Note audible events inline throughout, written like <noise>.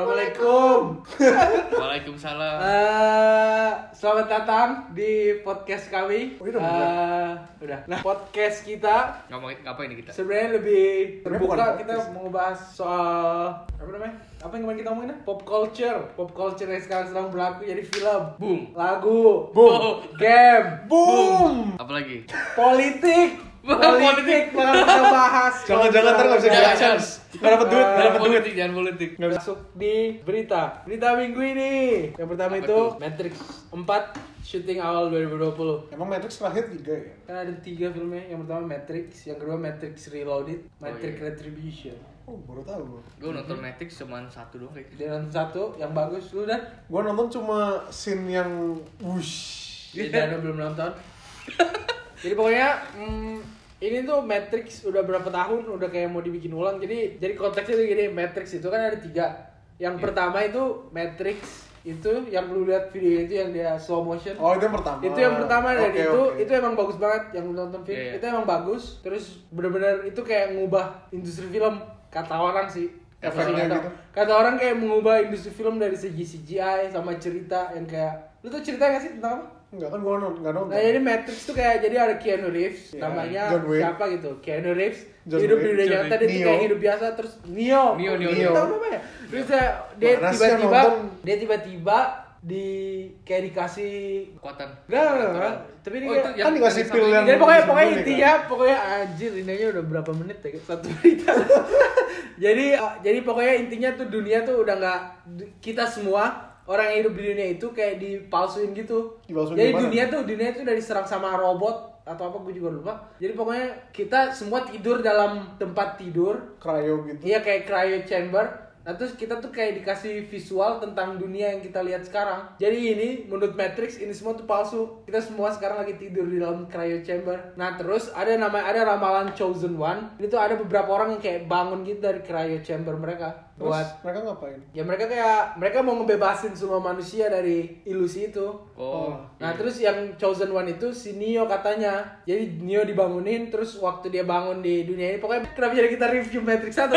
Assalamualaikum. Waalaikumsalam. Eh, selamat datang di podcast kami. Oh, iya dong, Eh, bener. udah. Nah, podcast kita Ngomongin apa ini kita? sebenarnya lebih Sebenarnya terbuka. bukan Kita podcast. mau ngebahas soal apa namanya? Apa yang kemarin kita omongin? ya? Pop culture. Pop culture yang sekarang sedang berlaku jadi film, Boom. lagu, Boom. game, Boom. Apalagi? <laughs> politik. Wah, Politik bakal kita bahas. Jangan-jangan ntar nggak bisa Jangan, jelasin. jangan. Nggak dapat duit, nggak Jangan dapat duit. politik, jangan politik. Nggak bisa. masuk di berita berita minggu ini yang pertama Apa itu tuh? Matrix 4 syuting awal 2020 Emang Matrix terakhir tiga ya? kan ada tiga filmnya yang pertama Matrix yang kedua Matrix Reloaded Matrix iya. Retribution Oh baru tahu gue. Gue nonton Matrix cuma satu doang kayaknya. dan satu yang bagus lu dan Gue nonton cuma scene yang wush. Jadi Dano belum nonton. jadi pokoknya mm, ini tuh Matrix udah berapa tahun udah kayak mau dibikin ulang. Jadi jadi konteksnya tuh gini, Matrix itu kan ada tiga. Yang pertama itu Matrix itu yang lu lihat video itu yang dia slow motion. Oh itu yang pertama. Itu yang pertama dan Oke, itu oke. itu emang bagus banget yang lu nonton film. Iya, iya. Itu emang bagus. Terus bener-bener itu kayak ngubah industri film kata orang sih. Kata Efeknya orang- gitu. Kata orang kayak mengubah industri film dari segi CGI sama cerita yang kayak lu tuh cerita gak sih tentang apa? Enggak kan gue nonton, nggak nonton. Nah jadi Matrix tuh kayak jadi ada Keanu Reeves Iya. namanya John Wick. siapa gitu Keanu Reeves John hidup Wick. di dunia John nyata Wick. dia tuh kayak Neo. hidup biasa terus Neo Neo, Neo, Dia Neo. tahu apa ya terus dia dia Mana sih yang tiba-tiba nonton? dia tiba-tiba di kayak dikasih Kekuatan. enggak enggak, enggak tapi ini Oh, kayak itu kan dikasih kan? yang pil sama yang- jadi pokoknya pokoknya Sebelumnya, intinya pokoknya anjir ini aja udah berapa menit ya satu berita. <laughs> jadi eh, jadi pokoknya intinya tuh dunia tuh udah nggak kita semua orang yang hidup di dunia itu kayak dipalsuin gitu. Dipalsuin jadi gimana? dunia tuh dunia itu udah diserang sama robot atau apa gue juga lupa. Jadi pokoknya kita semua tidur dalam tempat tidur. Cryo gitu. Iya kayak cryo chamber. Nah terus kita tuh kayak dikasih visual tentang dunia yang kita lihat sekarang. Jadi ini menurut Matrix ini semua tuh palsu. Kita semua sekarang lagi tidur di dalam cryo chamber. Nah terus ada nama ada ramalan Chosen One. Ini tuh ada beberapa orang yang kayak bangun gitu dari cryo chamber mereka Terus buat mereka ngapain? ya mereka kayak mereka mau ngebebasin semua manusia dari ilusi itu. Oh. Iya. Nah terus yang Chosen One itu si Neo katanya Jadi Neo dibangunin terus waktu dia bangun di dunia ini Pokoknya kenapa jadi kita review Matrix <laughs> 1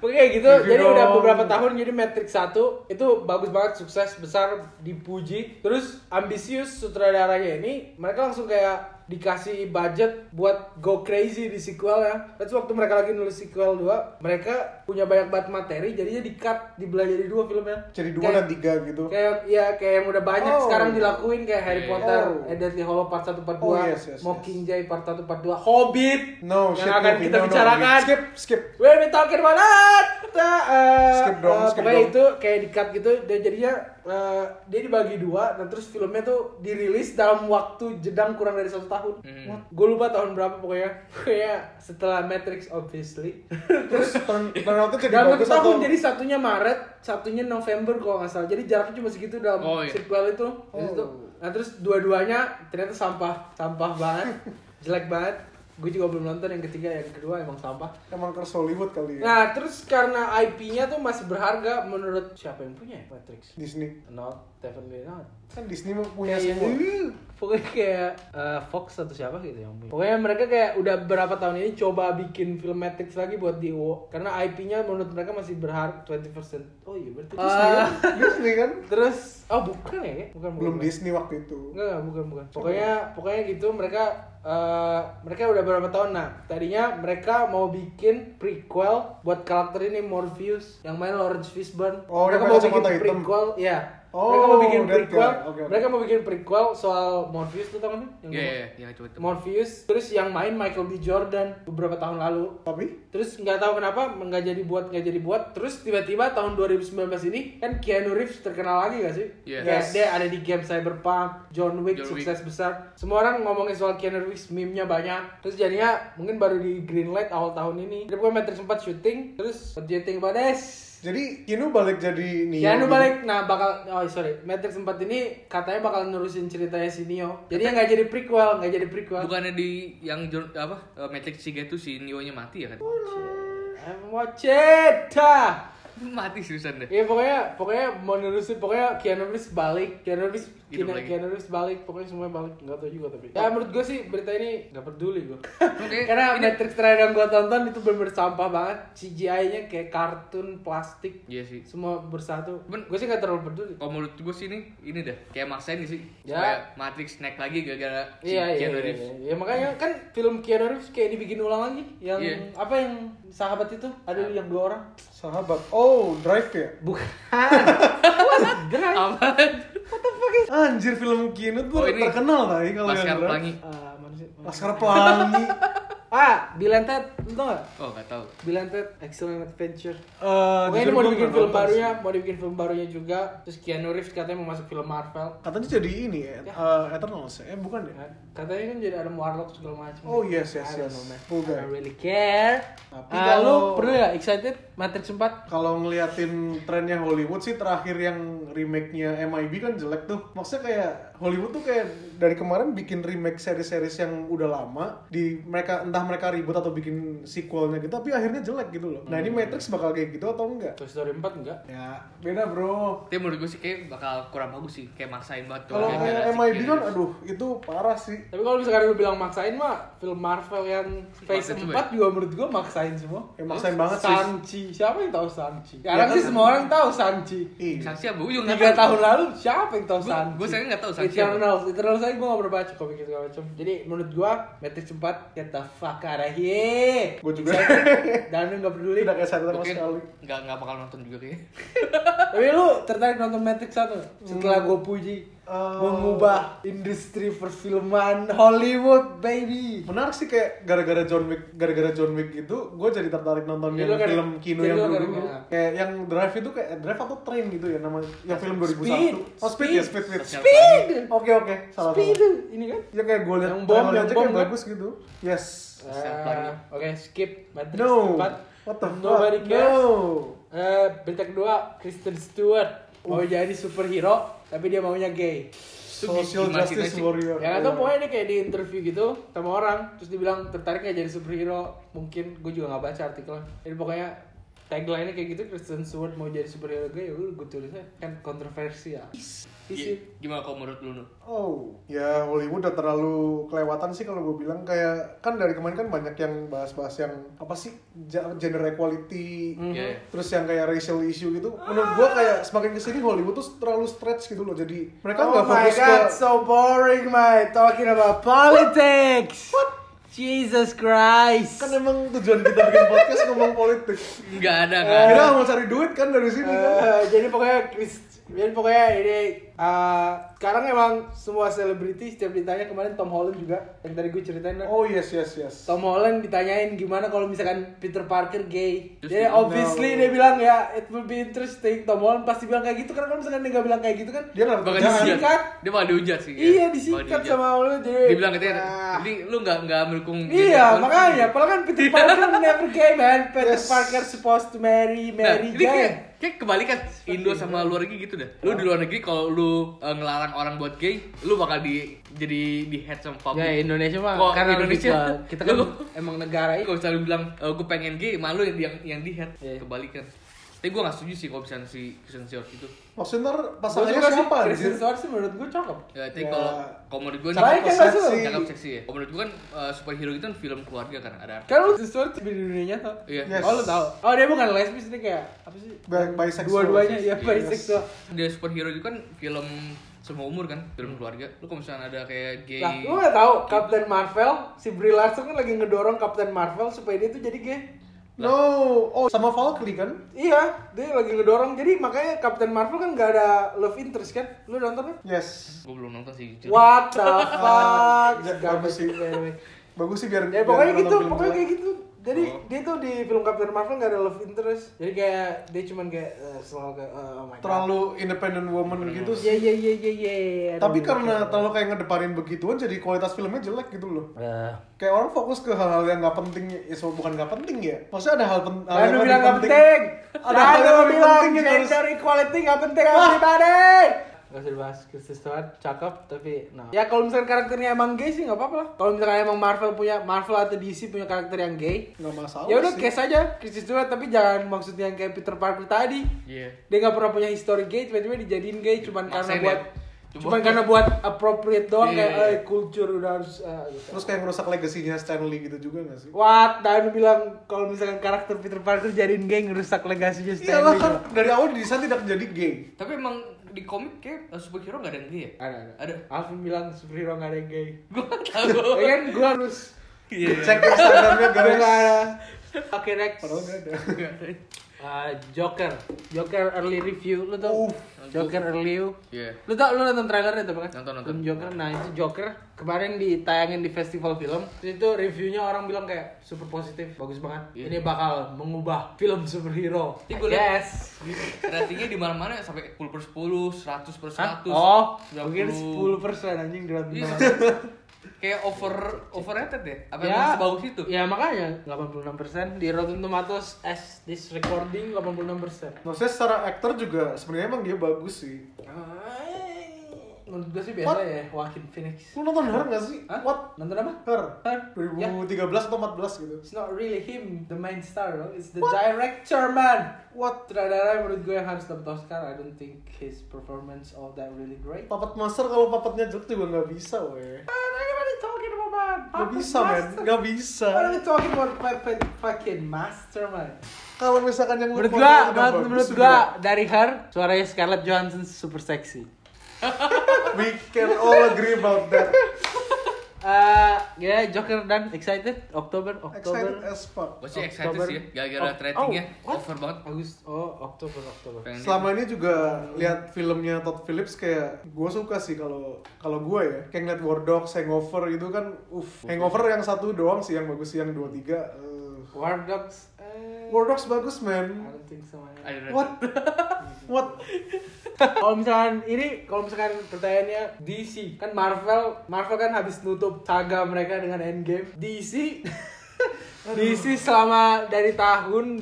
Pokoknya kayak gitu Review jadi udah dong. beberapa tahun jadi Matrix 1 Itu bagus banget sukses besar dipuji Terus ambisius sutradaranya ini mereka langsung kayak dikasih budget buat go crazy di sequel ya Terus waktu mereka lagi nulis sequel 2 Mereka punya banyak banget materi jadinya di cut dibelah jadi dua filmnya Jadi dua Kayak- dan tiga gitu. Kayak ya kayak yang udah banyak Oh. sekarang dilakuin kayak Harry Iya, iya. Potter, Oh. eh, Deathly Hollow part 1 part 2, Oh, yes, yes, Mockingjay part 1 part 2, Hobbit No, shit, yang akan movie. kita No, no, bicarakan. Skip, skip. We're be talking about that. Nah, eh, Skip dong, eh, skip pokoknya dong. itu kayak di cut gitu dan jadinya eh, dia dibagi dua dan terus filmnya tuh dirilis dalam waktu jedang kurang dari satu tahun. Hmm. Gue lupa tahun berapa pokoknya. <laughs> Pokoknya setelah Matrix obviously. <laughs> Terus turn, turn outnya jadi dalam satu bagus atau? tahun jadi satunya Maret, satunya November kalau nggak salah. Jadi jaraknya cuma segitu dalam Oh, iya. sequel itu. Dari Oh. situ. Nah terus dua-duanya ternyata sampah, sampah banget, <laughs> jelek banget. Gue juga belum nonton yang ketiga, yang kedua emang sampah. Emang ke Hollywood kali ya? Nah terus karena IP-nya tuh masih berharga menurut siapa yang punya ya? Matrix? Disney. Not, definitely not. Kan Disney punya Kayak semua. yang- Iya. pokoknya kayak eh, Fox atau siapa gitu yang punya. Pokoknya mereka kayak udah berapa tahun ini coba bikin film Matrix lagi buat di UO karena IP-nya menurut mereka masih berharga 20%. Oh iya berarti. Disney, kan? Eh. <laughs> Iya Disney kan? terus oh bukan ya? Bukan bukan. Belum bukan. Disney waktu itu. Enggak, enggak, bukan, bukan. Pokoknya pokoknya gitu mereka eh, mereka udah berapa tahun nah. Tadinya mereka mau bikin prequel buat karakter ini Morpheus yang main Lawrence Fishburne. Oh, mereka mau yang pakai bikin kacamata hitam. prequel, ya. Oh, mereka mau bikin that prequel. guy. Oke, oke. Mereka mau bikin prequel soal Morpheus tuh teman Iya, iya, iya, coba itu. Morpheus terus yang main Michael B Jordan beberapa tahun lalu Tapi terus nggak tahu kenapa nggak jadi buat nggak jadi buat terus tiba-tiba tahun 2019 ini kan Keanu Reeves terkenal lagi gak sih Iya. Kayak Yes. dia ada di game Cyberpunk John Wick John sukses besar semua orang ngomongin soal Keanu Reeves meme-nya banyak terus jadinya mungkin baru di greenlight awal tahun ini jadi pokoknya Matrix sempat syuting terus what do you think about this? jadi Keanu balik jadi Neo. Keanu gitu. balik, nah bakal, oh sorry, Matrix 4 ini katanya bakal nerusin ceritanya si Neo Jadi nggak jadi prequel, nggak jadi prequel Bukannya di yang John- apa eh, Matrix 3 itu si Neo-nya mati ya kan? I'm watch it. Ah. mati seriusan deh. Iya pokoknya pokoknya mau nerusin pokoknya Keanu Reeves balik, Keanu Reeves Keanu, Hidup lagi. Keanu Reeves balik, pokoknya semuanya balik, nggak tahu juga tapi. Ya menurut gue sih berita ini nggak peduli <laughs> gue. Oke, Karena Matrix terakhir yang gue tonton itu bener-bener sampah banget, CGI-nya kayak kartun plastik, Iya sih. semua bersatu. Ben- Gue sih nggak terlalu peduli. Kalau menurut gue sih ini, ini dah kayak maksain sih Ya. supaya Matrix naik lagi gara-gara si Iya, iya, Keanu iya, Reeves. iya. Ya, makanya kan film Keanu Reeves kayak dibikin ulang lagi yang Iya. apa yang sahabat itu ada yang dua orang Sahabat. Oh, Drive ya? <laughs> bukan What? Drive? Apaan? What the fuck is Anjir film Kinut Oh, gua ini terkenal tadi kalau Laskar yang Drive. Pelangi. Ah, manusia. Laskar <laughs> Pelangi. Ah, Bill and Ted, lu tau gak? Oh, gak tahu. Bill and Ted, Excellent Adventure. Pokoknya Eh, Oh, jujur ini mau dibikin gua nggak film nonton barunya, sih. mau dibikin film barunya juga. Terus Keanu Reeves katanya mau masuk film Marvel. Katanya jadi ini ya, eh, Eternals ya? Eh, bukan ya? Kan? Katanya kan jadi ada Warlock segala macam. Oh, yes, yes, I don't yes. know, man. I Full guy. don't really care. Tapi Ah, lu kalau- perlu ya excited Matrix 4? Kalau ngeliatin trennya Hollywood sih terakhir yang remake-nya MIB kan jelek tuh. Maksudnya kayak Hollywood tuh kayak dari kemarin bikin remake series-series yang udah lama di mereka entah mereka ribut atau bikin sequelnya gitu tapi akhirnya jelek gitu loh. Nah, ini Matrix bakal kayak gitu atau enggak? Toy Story 4 enggak? Ya, beda bro. Tapi menurut gue sih kayak bakal kurang bagus sih, kayak maksain banget tuh Kalau gara-gara kayak si MIB Keanu kan Reeves. aduh itu parah sih. Tapi kalau misalkan lu bilang maksain mah, film Marvel yang Phase Maksain 4 semua ya? juga menurut gua maksain semua. Ya, maksain banget sih. Sanchi, siapa yang tahu Sanchi? Sekarang kan? sih semua orang tahu Sanchi. Iya. Sanksi apa? Gue juga tiga nggak tahu. tahun lalu siapa yang tahu Gua- Sanji? gua sebenarnya nggak tahu Sanji Eternal, Eternal saya gue nggak pernah baca komik segala macam. Jadi menurut gue Matrix 4 get the fuck out of here. <laughs> Gua juga. Excited. Dan lu nggak peduli. Tidak kayak satu sama Oke, sekali. nggak nggak bakal nonton juga kayaknya. Tapi lu tertarik nonton Matrix 1 setelah Hmm. gue puji Eh. mengubah industri perfilman Hollywood baby. Menarik sih kayak gara-gara John Wick, gara-gara John Wick gitu, gue jadi tertarik nonton Jadi yang lo gara- film Kino jadi ya. yang lo dulu dulu. gara-gara. Kayak yang Drive itu kayak Drive atau Train gitu ya namanya, yang film 2001. Speed. Oh Speed, ya Speed Speed. Speed. Speed, Oke oke, Oh, salah speed salah. ini kan. Ya kayak gue liat Yang bom, trailernya yang aja bom, kayak kan? bagus gitu. Yes. Eh, Oke skip Matrix No. 4. What the fuck? Nobody cares. No. Eh, berita kedua, Kristen Stewart mau jadi superhero, tapi dia maunya gay. Itu Social gimana sih, Justice sih? Warrior. Ya nggak tau pokoknya dia kayak di interview gitu sama orang, terus dibilang tertarik nggak jadi superhero? Mungkin gue juga nggak baca artikelnya. Jadi pokoknya tagline-nya kayak gitu, Kristen Stewart mau jadi superhero gay, ya udah gue tulisnya kan kontroversial. Iya. Isi. Gimana kalau menurut lu? Nuh? Oh, ya Hollywood udah terlalu kelewatan sih kalau gue bilang kayak kan dari kemarin kan banyak yang bahas-bahas yang apa sih ja- gender equality, Iya, iya. terus yang kayak racial issue gitu. Menurut gue kayak semakin kesini Hollywood tuh terlalu stretch gitu loh. Jadi Oh mereka nggak fokus ke so boring, my talking about politics. What? Jesus Christ. kan emang tujuan kita bikin podcast ngomong politik. Nggak ada kan? Kita mau cari duit kan dari sini kan. Eh, jadi pokoknya Chris jadi pokoknya ini eh, sekarang emang semua selebriti setiap ditanya kemarin Tom Holland juga yang tadi gue ceritain kan. Oh yes yes yes. Tom Holland ditanyain gimana kalau misalkan Peter Parker gay. Terus Jadi dia- obviously No. dia bilang ya it will be interesting. Tom Holland pasti bilang kayak gitu karena kalau misalkan dia nggak bilang kayak gitu kan Dia nggak Bakal jangan. disikat. Disikat. Dia malah dihujat sih. iya ya. Malah disingkat dihujat. sama Holland jadi Dibilang katanya, ah. jadi lu nggak nggak gitu. mendukung. Iya, gender- makanya. Padahal kan Peter <laughs> Parker never gay, man. Peter Yes. Parker supposed to marry, Nah, marry ini gay. kayak, kayak kebalikan Indo sama luar negeri gitu dah. Ah. Lu di luar negeri kalau lu eh, ngelarang orang buat gay, lu bakal di jadi di head sama publik. Ya Indonesia mah Kok karena Indonesia? Indonesia kita kan Lu- emang negara Tapi itu. kalau misalnya lu bilang e, gue pengen gay, malu yang yang di head Iya. kebalikan. Tapi gue gak setuju sih kalau misalnya si Kristen Stewart itu. Maksudnya ntar Gua pasangannya suka sih, siapa? anjir? Kristen Stewart sih menurut gue cakep. Ya, tapi Ya. kalau kalau menurut gue Caranya kan gak seksi. sih. cakep seksi ya. Kalau menurut gue kan e, superhero itu kan film keluarga kan ada. Kan lu Kristen Stewart di dunia nyata. Iya. Yes. Oh lu tau. Oh dia bukan lesbis dia kayak apa sih? Bi- bisexual. Dua-duanya ya Yes. bisexual. Dia superhero itu kan film semua umur kan, film keluarga. Lu kalau misalnya ada kayak gay. Lah, lu gak tau Captain Marvel, si Brie Larson kan lagi ngedorong Captain Marvel supaya dia tuh jadi gay. No, oh sama Valkyrie kan? Iya, dia lagi ngedorong. Jadi makanya Captain Marvel kan gak ada love interest kan? Lu nonton kan? Yes. Gue belum nonton sih jujur. What the fuck? Ya, Gak bagus sih. baik-baik. Bagus sih biar Iya, ya biar pokoknya nonton gitu film pokoknya bola. kayak gitu jadi Oh. dia tuh di film Captain Marvel gak ada love interest jadi kayak dia cuman kayak eh, selalu kayak eh, oh my god terlalu independent woman gitu sih. ya ya ya ya ya Tapi karena terlalu kayak ngedepanin begituan jadi kualitas filmnya jelek gitu loh. Kayak orang fokus ke hal-hal yang nggak penting, ya so- bukan nggak penting ya. Maksudnya ada hal, pen, hal Lalu yang bilang paling gak penting Ada hal yang Lalu lebih bilang penting yang harus. gender equality gak penting everybody Gak usah dibahas Kristen Stewart cakep tapi no. Ya kalau misalkan karakternya emang gay sih nggak apa-apa lah. Kalau misalkan emang Marvel punya Marvel atau DC punya karakter yang gay, nggak masalah ya udah sih. case aja Kristen Stewart tapi jangan maksudnya yang kayak Peter Parker tadi. Iya. Dia nggak pernah punya history gay tiba-tiba dijadiin gay cuman karena Maksain ya. buat Cuma- cuman karena buat appropriate doang Iya, kayak iya, eh, culture udah harus eh, gitu. terus kayak ngerusak legasinya Stanley gitu juga nggak sih Oh, What? Dan bilang kalau misalkan karakter Peter Parker jadiin geng rusak legasinya iyalah Stanley. kan dari awal didesain tidak jadi gay Tapi emang di komik kayak eh, superhero nggak ada yang gay ya? Ada, ada. Ada. <laughs> Alvin bilang superhero gak ada yang <laughs> gay. Gua nggak tahu. Ya kan gue harus Iya. cek Instagramnya gue guys gak ada. Oke next. padahal nggak ada Ah, Joker. Joker early review lu tau? Uh. Joker early review. Iya. Lu tau lu nonton trailernya tuh kan? Nonton, nonton. Film Joker. Nah itu Joker kemarin ditayangin di festival film. Terus itu reviewnya orang bilang kayak super positif, bagus banget. Iya. Ini bakal mengubah film superhero. Ih, gua liat- Yes. Ratingnya di mana-mana sampai 10 per 10, 100 per 100. Hah? Oh, 90. mungkin 10 persen anjing dalam Iya. Kayak over overrated ya? Apa yang sebagus itu? Ya makanya 86% di Rotten Tomatoes as this recording 86%. maksudnya secara aktor juga sebenarnya emang dia bagus sih Menurut gue sih biasa ya Joaquin Phoenix. lu nonton Her nggak sih Hah? what Nonton apa? Her Her? Ya. 2013 atau 14 gitu It's not really him the main star, no? it's the director man. What sutradara menurut gue yang harus dapat Oscar. I don't think his performance all that really great. Puppet Master kalau puppetnya jelek juga nggak bisa weh Man, what are you talking about, man? nggak bisa men Master. nggak bisa What are you talking about, puppet fucking master, man? kalau misalkan yang lu Menurut fotonya gua, udah menurut, bagus menurut juga. gua dari her suaranya Scarlett Johansson super seksi. we can all agree about that Eh, ya Joker dan excited Oktober excited Oktober as fuck Gue sih excited Oktober. sih ya, gara-gara Oh, ratingnya oh, what? over eh. banget. Agus oh Oktober Oktober. Pengen Selama ini juga lihat filmnya Todd Phillips kayak gue suka sih kalau kalau gue ya kayak ngeliat War Dogs, Hangover gitu kan, uff. Hangover yang satu doang sih yang bagus sih yang dua tiga. eh. War Dogs. eh, War Dogs bagus I man. don't think so. man. I don't know. What? What? kalau misalkan ini kalau misalkan pertanyaannya DC kan Marvel Marvel kan habis nutup saga mereka dengan Endgame <laughs> DC DC selama dari tahun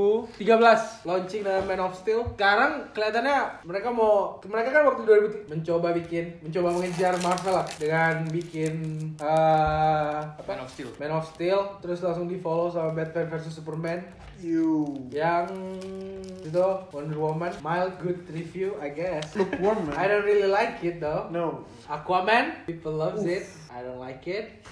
2013 launching dengan Man of Steel. Sekarang kelihatannya mereka mau mereka kan waktu 2000 mencoba bikin mencoba mengejar Marvel lah dengan bikin eh, apa? Man of Steel. Man of Steel terus langsung di follow sama Batman versus Superman You. yang itu Wonder Woman mild good review I guess I Lukewarm man. don't really like it though No. Aquaman people loves it I don't like it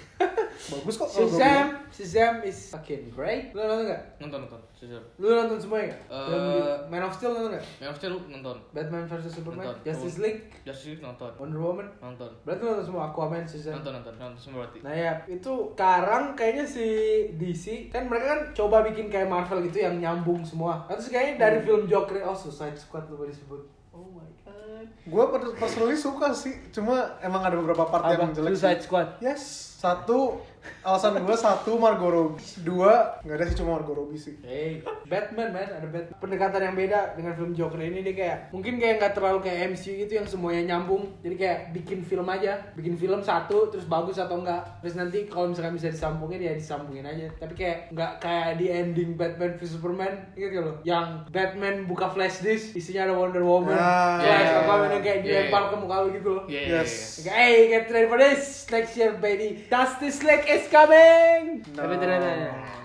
Bagus kok. kalau gua bilang. Shazam Shazam is fucking great lu nonton gak? Nonton, nonton, jujur. lu nonton semuanya gak? Eh. Film di- Man of Steel nonton gak? Man of Steel nonton. Batman vs Superman Nonton. Justice League Justice League nonton. Wonder Woman Nonton. berarti lu nonton semua Aquaman Shazam Nonton, nonton, nonton semua berarti. Nah ya, itu sekarang kayaknya si DC kan mereka kan coba bikin kayak Marvel gitu yang nyambung semua. Kan Terus kayaknya dari film Joker, oh Suicide Squad lu boleh disebut. Oh my god. Gue per- personally suka sih, cuma emang ada beberapa part yang jelek. sih. Suicide Squad. Yes. Satu alasan gue satu Margot Robbie. Dua nggak ada sih cuma Margot Robbie sih. Hey, Batman man, ada Batman. Pendekatan yang beda dengan film Joker ini dia kayak mungkin kayak nggak terlalu kayak MCU gitu yang semuanya nyambung. Jadi kayak bikin film aja, bikin film satu terus bagus atau enggak. Terus nanti kalau misalkan bisa disambungin ya disambungin aja. Tapi kayak nggak kayak di ending Batman v Superman gitu loh. Yang Batman buka flash disk isinya ada Wonder Woman. Ah, Flash iya, Aquaman iya. yang kayak Iya, dilempar iya. ke muka lu gitu loh. Iya, iya, Yes. iya. Kayak, Hey, get ready for this. Next year, baby. Justice League is coming. No. Tapi ternyata.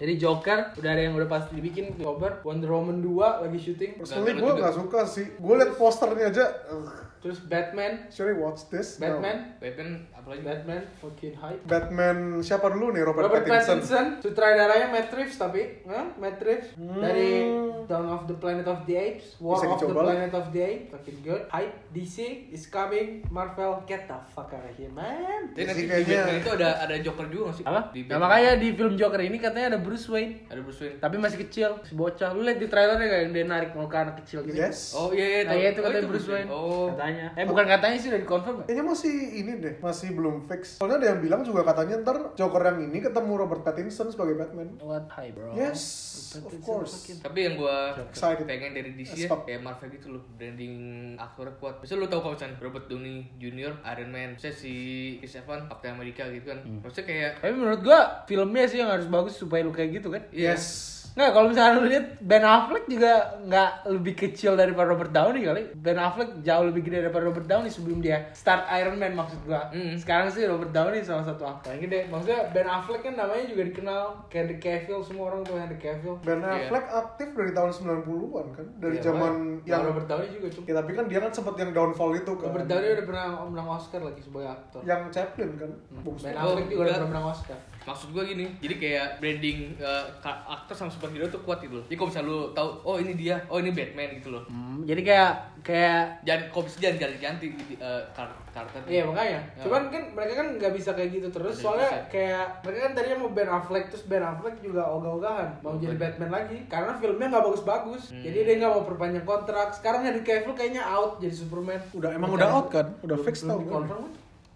Jadi Joker udah ada yang udah pasti dibikin cover. Wonder Woman 2 lagi syuting. Personally gue nggak suka sih. Gue liat posternya aja. ugh. Terus Batman, Should I watch this? No. Batman, Batman, apalagi Batman fucking hype. Batman siapa dulu nih Robert, Robert Pattinson. Pattinson, sutradaranya Matt Reeves tapi, huh? Matt Reeves dari Dawn of the Planet of the Apes, War Hmm. Bisa of the dicoba lah. Planet of the Apes, fucking good. Hype DC is coming, Marvel get the fuck out of here, man. Tapi nanti Jadi di Batman kayaknya- itu ada ada Joker juga nggak sih? Di Nah, Batman. makanya di film Joker ini katanya ada Bruce Wayne. ada Bruce Wayne. tapi masih kecil si bocah lu liat di trailernya gak yang dia narik muka anak kecil gitu Yes. Oh iya iya nah tahu. iya itu Oh, katanya Bruce Wayne Oh. katanya eh bukan katanya sih udah di confirm kan Kayaknya masih ini deh, masih belum fix. Soalnya ada yang bilang juga katanya ntar Joker yang ini ketemu Robert Pattinson sebagai Batman. what hype bro Yes, Oh, Robert of Pattinson course. fucking- Tapi yang gua Excited. pengen dari DC ya, Stop. kayak Marvel gitu loh, branding aktor kuat. Misalnya lu tahu kalau misalnya Robert Downey Jr, Iron Man, misalnya si Chris Evans, Captain America gitu kan. Maksudnya kayak tapi menurut gua filmnya sih yang harus bagus supaya lu kayak gitu kan iya, Yes. Nggak, kalau misalnya lu lihat Ben Affleck juga nggak lebih kecil daripada Robert Downey kali. Ben Affleck jauh lebih gede daripada Robert Downey sebelum dia start Iron Man maksud gua. Mm. Sekarang sih Robert Downey salah satu aktor. Yang gede, maksudnya Ben Affleck kan namanya juga dikenal Henry Cavill, semua orang tuh Henry Cavill Ben Affleck aktif dari tahun 90-an kan, dari Iya, zaman makanya. yang Nah, Robert Downey juga cukup Ya tapi kan dia kan sempet yang downfall itu kan. Robert Downey udah pernah menang Oscar lagi sebagai aktor Yang Chaplin kan. Bagus Ben Affleck. banget. Affleck juga Iya. udah Enggak. pernah menang Oscar Maksud gua gini, jadi kayak branding eh, ka- aktor sama superhero tuh kuat gitu loh. Jadi kalau misalnya lu tahu, oh ini dia, oh ini Batman gitu loh. Hmm, jadi kayak kayak Jangan kalau bisa jangan jangan ganti gitu, eh, kar- karakter. Iya makanya. Ya. Cuman kan mereka kan nggak bisa kayak gitu terus. Ada Soalnya yang bisa. kayak mereka kan tadinya mau Ben Affleck terus Ben Affleck juga ogah-ogahan mau jadi Batman lagi karena filmnya nggak bagus-bagus. Jadi dia nggak mau perpanjang kontrak. Sekarang Henry Cavill kayaknya out jadi Superman. Udah emang Bukan. udah out kan? Udah Belum- fix belum tau gue. dikonfirm kan?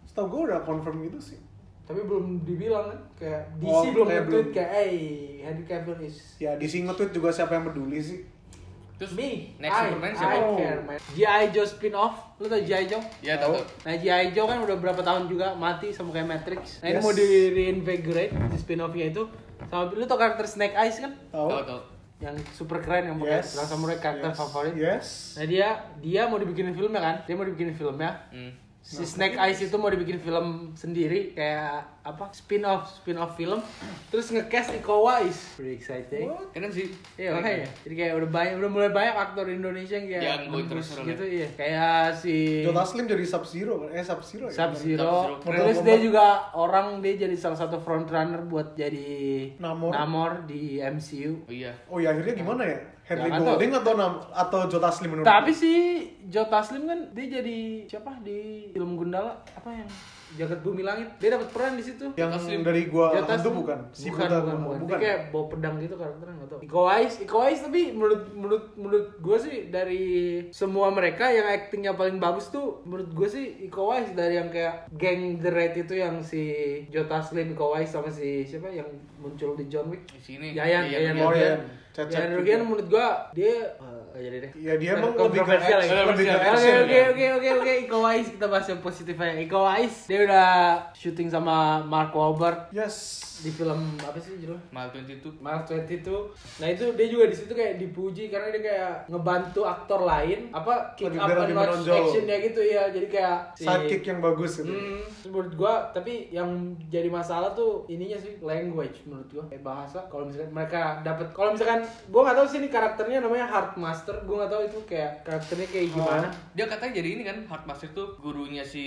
Setahu gue udah confirm gitu sih. Tapi belum dibilang kan kayak DC Oh, belum kayak nge-tweet belum. kayak hey Henry Cavill is Ya di sini tweet juga siapa yang peduli sih. Terus me. next I, Superman I siapa? care, man. G.I. Joe spin-off. Lu tau G.I. Joe? Iya tahu. tahu. Nah G.I. Joe kan udah berapa tahun juga mati sama kayak Matrix. Nah ini Yes. mau di reinvigorate di spin-offnya itu. Sama lu tau karakter Snake Eyes kan? Tahu? Tahu tahu. Yang super keren yang pakai yes. samurai karakter yes, favorit. Yes. Nah dia dia mau dibikinin filmnya kan? Dia mau dibikinin filmnya. Hmm. Si Nah, Snake Eyes itu mau dibikin film sendiri kayak apa? Spin off, spin off film. Terus ngecast Iko Uwais. Pretty exciting. Keren sih. Iya makanya. Jadi kayak udah banyak udah mulai banyak aktor Indonesia yang kayak Yang go nembus internasional ya. gitu iya. Kayak si Jota Slim jadi Sub Zero kan? Eh Sub Zero ya. Sub Zero. Sub-Zero. Terus Keren. dia juga orang dia jadi salah satu frontrunner buat jadi Namor. di MCU. Oh iya. Oh ya akhirnya gimana ya? Henry Jangan Golding atau nam- atau Jota Slim menurut Tapi lu? si Joe Taslim kan dia jadi siapa di film Gundala apa yang Jagat Bumi Langit. Dia dapat peran di situ. yang Jota Slim. dari gua Joe Taslim- hantu bukan? Si bukan, buta bukan, gua- bukan. Dia bukan. ya? kayak bawa pedang gitu karakternya enggak tahu. Iko Uwais, Iko Uwais tapi menurut menurut menurut gue sih dari semua mereka yang actingnya paling bagus tuh menurut gue sih Iko Uwais dari yang kayak geng The Raid itu yang si Joe Taslim, Iko Uwais sama si siapa yang muncul di John Wick. Di sini. Iya, Yayan, Yayan, Oh, Ruhian. Yayan. Cecep Yayan juga. Ruhian menurut gua dia eh, nggak jadi deh. Ya dia emang lebih ke kontroversial action, ya. lebih ke Oke action. oke oke oke oke Iko Uwais kita bahas yang positif aja. Iko Uwais dia udah syuting sama Mark Wahlberg Yes. di film apa sih judulnya? Mal 22. Mark 20 itu, nah itu dia juga di situ kayak dipuji karena dia kayak ngebantu aktor lain apa kick Lebih up biar and lebih launch menonjol. actionnya gitu ya, jadi kayak si- Sidekick yang bagus itu. Hmm, menurut gua tapi yang jadi masalah tuh ininya sih language menurut gua kayak bahasa kalau misalkan mereka dapat kalau misalkan gua nggak tahu sih ini karakternya namanya Heartmaster gua nggak tahu itu kayak karakternya Oh. kayak gimana Dia katanya jadi ini kan Heartmaster tuh gurunya si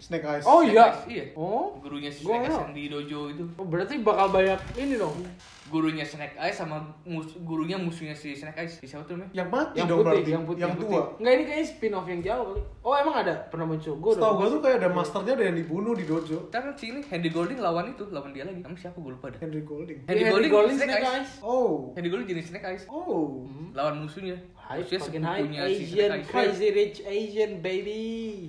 Snake Eyes. Oh iya. Snake Eyes, iya. Oh. gurunya si Gua Snake Eyes nggak. yang di dojo itu. Oh, berarti bakal banyak ini dong. Gurunya Snake Eyes sama mus- gurunya musuhnya si Snake Eyes. Si siapa tuh namanya? Yang mati Yang dong putih, berarti. yang putih, yang tua. putih. Enggak ini kayaknya spin off yang jauh kali. Oh, emang ada pernah muncul. Gua udah Setahu gua tuh kayak Iya. ada masternya ada yang dibunuh di dojo. Ntar kan si ini Henry Golding lawan itu, lawan dia lagi. Namanya siapa gue lupa dah. Henry Golding. Henry Golding, Snake Eyes. Oh. Henry Golding jadi Snake Eyes. Oh. Hmm. Lawan musuhnya. Hype, Musuhnya makin hype. sepupunya si Asian, Snake Eyes. crazy rich Asian baby.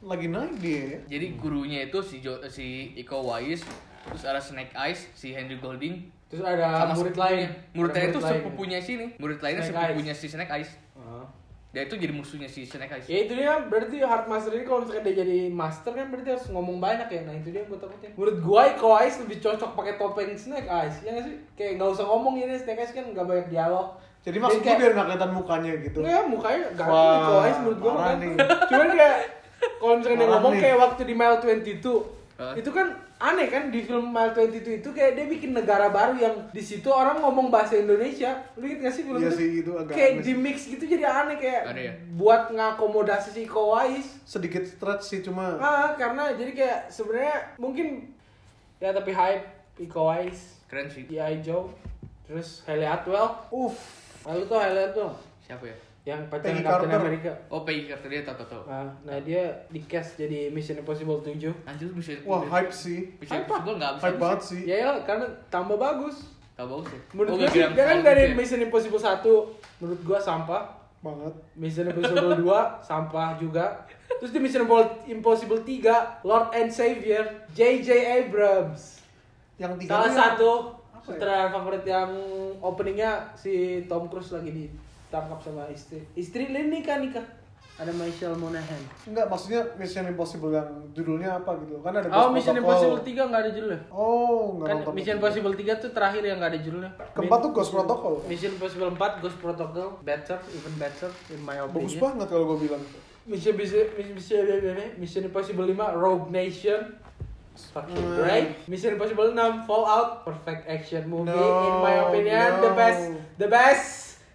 Lagi naik dia ya. Jadi gurunya itu si Jo- si Iko Uwais, terus ada Snake Eyes, si Henry Golding, terus ada Ah, murid lain sepupunya. Murid Ada lain itu murid lain. sepupunya sini. Murid lainnya Snake sepupunya si Snake Eyes. Ah. Dia itu jadi musuhnya si Snake Eyes. Ya itu dia berarti Heartmaster ini kalau misalkan dia jadi master kan berarti harus ngomong banyak ya. Nah itu dia yang gue takutin. Menurut gua Iko Eyes lebih cocok pakai topeng Snake Eyes. Ya nggak sih? Kayak nggak usah ngomong ini Snake Eyes kan nggak banyak dialog. Jadi maksudnya biar nggak kelihatan mukanya gitu. Enggak, mukanya ganteng Wah, Iko Eyes menurut gua parah ganteng. nih. Cuman kayak kalau misalkan dia Parah ngomong nih. kayak waktu di Mile 22 Hah? itu kan aneh kan di film Mile 22 itu kayak dia bikin negara baru yang di situ orang ngomong bahasa Indonesia. Lu inget gak sih film Iya itu? sih, itu agak kayak aneh di mix gitu jadi aneh kayak Aneh ya? buat ngakomodasi si Iko Eyes. Sedikit stretch sih cuma Ah, karena jadi kayak sebenarnya mungkin ya tapi hype Iko Uwais, Keren sih. G.I. Joe, terus Haley Atwell. uff. Lalu tuh Haley Atwell Siapa ya? yang pacar Peggy Captain Carter. America. Oh, Peggy Carter dia tato tato. Ah, nah dia di cast jadi Mission Impossible 7. Anjir bisa. Wah, hype sih. Bisa Iya. Hype, possible enggak bisa. Hype banget sih. Ya iyalah, karena tambah bagus. Tahu bagus ya. Menurut Oh, gua sih, William dia kan Fallon dari gitu ya. Mission Impossible 1 menurut gua sampah. Banget. Mission <laughs> Impossible 2 sampah juga. Terus di Mission Impossible 3 Lord and Savior J.J. Abrams. Yang tiga Salah tuh yang- satu apa ya? sutradara favorit yang openingnya si Tom Cruise lagi ditangkap sama istri. Istri Lini kan nikah. Ada Michelle Monaghan. Enggak, maksudnya Mission Impossible yang judulnya apa gitu. Kan ada Oh, Ghost Mission Protocol. Impossible 3 nggak ada judulnya. Oh, enggak Kan nonton. Mission Impossible 3 tuh terakhir yang nggak ada judulnya. Keempat tuh Ghost Protocol. Mission Impossible 4 Ghost Protocol better, even better in my opinion. Bagus banget kalau gue bilang. Mission Mission Mission Mission Impossible 5 Rogue Nation Fucking Hmm. right Mission Impossible 6 Fallout Perfect action movie No, In my opinion The no. best The best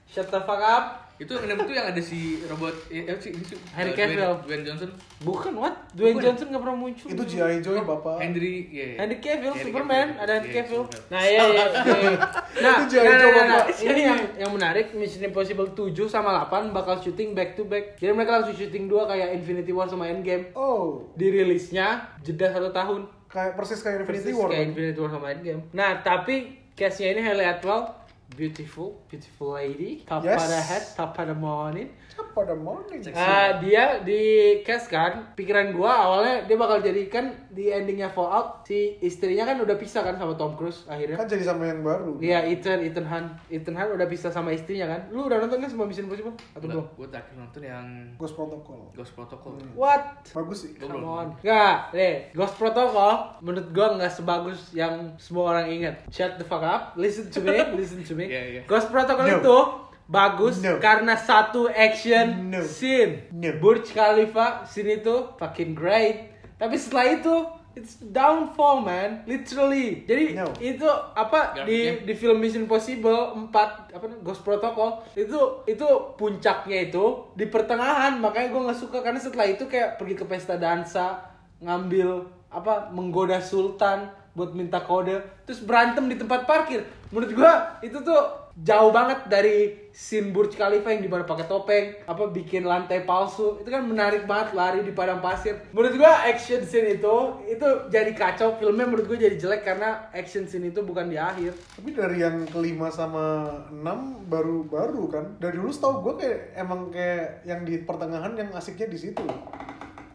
Shut the fuck up Itu yang enam itu yang ada si robot eh, eh, si, si- Henry eh, Dwayne- Cavill. Dwayne Johnson. Bukan what? Dwayne Bukan. Johnson gak pernah muncul Itu G.I. Joe Bapak. Henry, ya. ya. Oh, Henry Cavill Henry Superman Cavill. Ada Henry Iya, Cavill Superman. Nah iya iya iya. <laughs> Nah, Itu jangan nah, nah, coba, nah, nah. Pak. Ini yang, yang menarik Mission Impossible 7 sama 8 Bakal syuting back to back Jadi mereka langsung syuting dua Kayak Infinity War sama Endgame Oh, Dirilisnya Jeda satu tahun kayak persis kayak Persis Infinity War. kayak kan? Infinity War sama Endgame. Nah, tapi case-nya ini Haley Atwell beautiful, beautiful lady, top Yes. pada head, top pada morning. Siapa pada morning? Ah, dia di cast kan, pikiran gua awalnya dia bakal jadi kan di endingnya Fallout si istrinya kan udah pisah kan sama Tom Cruise akhirnya. Kan jadi sama yang baru. Iya, Ethan, Ethan Hunt. Ethan Hunt udah pisah sama istrinya kan. Lu udah nonton kan semua Mission Impossible? Atau Enggak, belum? gue terakhir nonton yang Ghost Protocol. Ghost Protocol. What? Bagus sih. Gua Come belum. on. Nggak, deh. Ghost Protocol menurut gua nggak sebagus yang semua orang ingat. Shut the fuck up. Listen to <laughs> me, listen to me. Iya, iya. Ghost Protocol No. itu bagus No. karena satu action No. scene. No. Burj Khalifa scene itu fucking great. Tapi setelah itu It's downfall man, literally. Jadi No. itu apa di Grafiknya. di film Mission Impossible 4 apa namanya, Ghost Protocol itu itu puncaknya itu di pertengahan makanya gue nggak suka karena setelah itu kayak pergi ke pesta dansa ngambil apa menggoda sultan buat minta kode terus berantem di tempat parkir menurut gue itu tuh jauh banget dari scene Burj Khalifa yang dimana pakai topeng apa bikin lantai palsu itu kan menarik banget lari di padang pasir menurut gua action scene itu itu jadi kacau filmnya menurut gua jadi jelek karena action scene itu bukan di akhir Tapi dari yang kelima sama enam baru-baru kan. Dari dulu setahu gue kayak emang kayak yang di pertengahan yang asiknya di situ.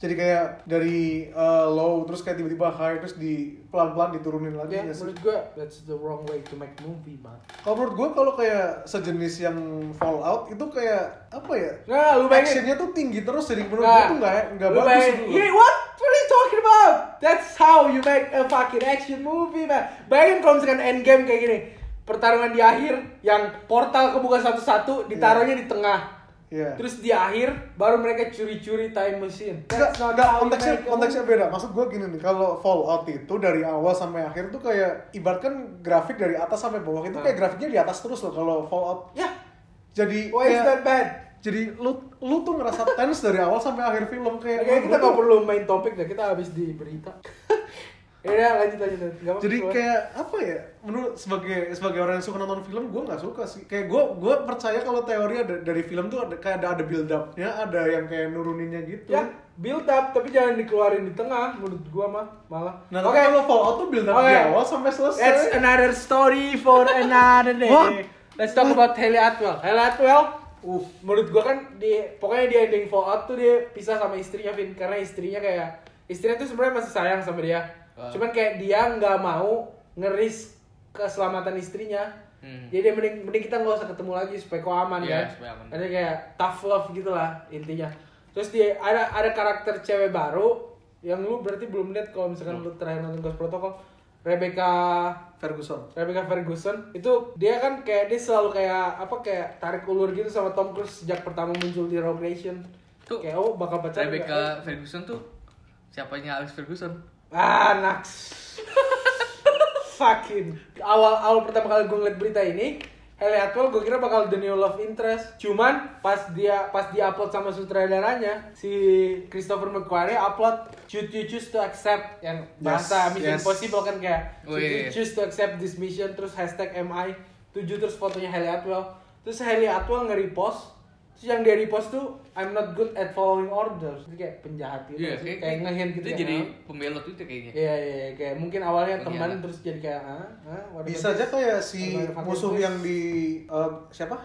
Jadi kayak dari uh, low terus kayak tiba-tiba high terus di pelan-pelan diturunin lagi Ya, ya sih? menurut gue that's the wrong way to make movie, man. Kalau menurut gue kalau kayak sejenis yang Fallout itu kayak apa ya? Nah, lu bayangin. Actionnya tuh tinggi terus jadi menurut Nah, gue tuh nggak nggak lu bagus bayangin. Iya, dulu. Yeah, what? What are you talking about? That's how you make a fucking action movie, man. Bayangin kalau misalkan endgame kayak gini. Pertarungan di akhir yang portal kebuka satu-satu ditaruhnya di tengah. Iya. Terus di akhir baru mereka curi-curi time machine. Enggak, That's not enggak, how you konteksnya, make a konteksnya beda. Maksud gue gini nih, kalau Fallout itu dari awal sampai akhir tuh kayak ibaratkan grafik dari atas sampai bawah itu Nah. kayak grafiknya di atas terus loh kalau Fallout. movie. Yeah. Jadi Why is kayak- that bad? Jadi lu lu tuh ngerasa tense dari awal sampai akhir film kayak Kayaknya wah, kita Iya, gua nggak tuh- perlu main topik deh, kita habis di berita. <laughs> Ya lanjut lanjut. lanjut. Nggak apa-apa, jadi coba. kayak apa ya menurut sebagai sebagai orang yang suka nonton film gue nggak suka sih kayak gue gue percaya kalau teori ada dari film tuh ada kayak ada ada build upnya ada yang kayak nuruninnya gitu Ya, build up tapi jangan dikeluarin di tengah menurut gua mah malah. nah tapi kalau fallout tuh build up Oke. di awal sampai selesai That's another story for another day. What? Let's talk about Haley Atwell. Haley Atwell, Uh. menurut gua kan di pokoknya di ending Fallout tuh dia pisah sama istrinya Vin karena istrinya kayak istrinya tuh sebenarnya masih sayang sama dia. Ah. Cuman kayak dia nggak mau ngeris keselamatan istrinya. Hmm. Jadi dia mending, mending kita nggak usah ketemu lagi supaya kau aman Iya, kan. supaya aman. Ada kayak tough love gitulah intinya. Terus dia ada ada karakter cewek baru yang lu berarti belum lihat kalau misalkan lu terakhir nonton Ghost Protocol Rebecca Ferguson Rebecca Ferguson itu dia kan kayak dia selalu kayak apa kayak tarik ulur gitu sama Tom Cruise sejak pertama muncul di Rogue Nation. Tuh, Kayak oh bakal pacaran. nggak? Rebecca Ferguson tuh siapanya Alex Ferguson? Ah, <laughs> naks. Fucking. Awal awal pertama kali gue ngeliat berita ini, Haley Atwell gue kira bakal the new love interest. Cuman pas dia pas dia upload sama sutradaranya si Christopher McQuarrie upload should you choose to accept yang bahasa Yes, Mission yes. Impossible kan kayak Oh, should you iya, iya. choose to accept this mission terus hashtag MI 7 terus fotonya Haley Atwell terus Haley Atwell nge-repost terus yang dia repost tuh I'm not good at following orders Jadi kayak penjahat gitu kayak, Iya, kayak- kayak ngehint gitu Dia ya. jadi pembelot itu ya kayaknya. Iya iya iya. kayak mungkin awalnya Mungkin teman iya. ada. terus jadi kayak ah ah what bisa about aja ya. this? kayak si What about musuh this?" yang di eh, siapa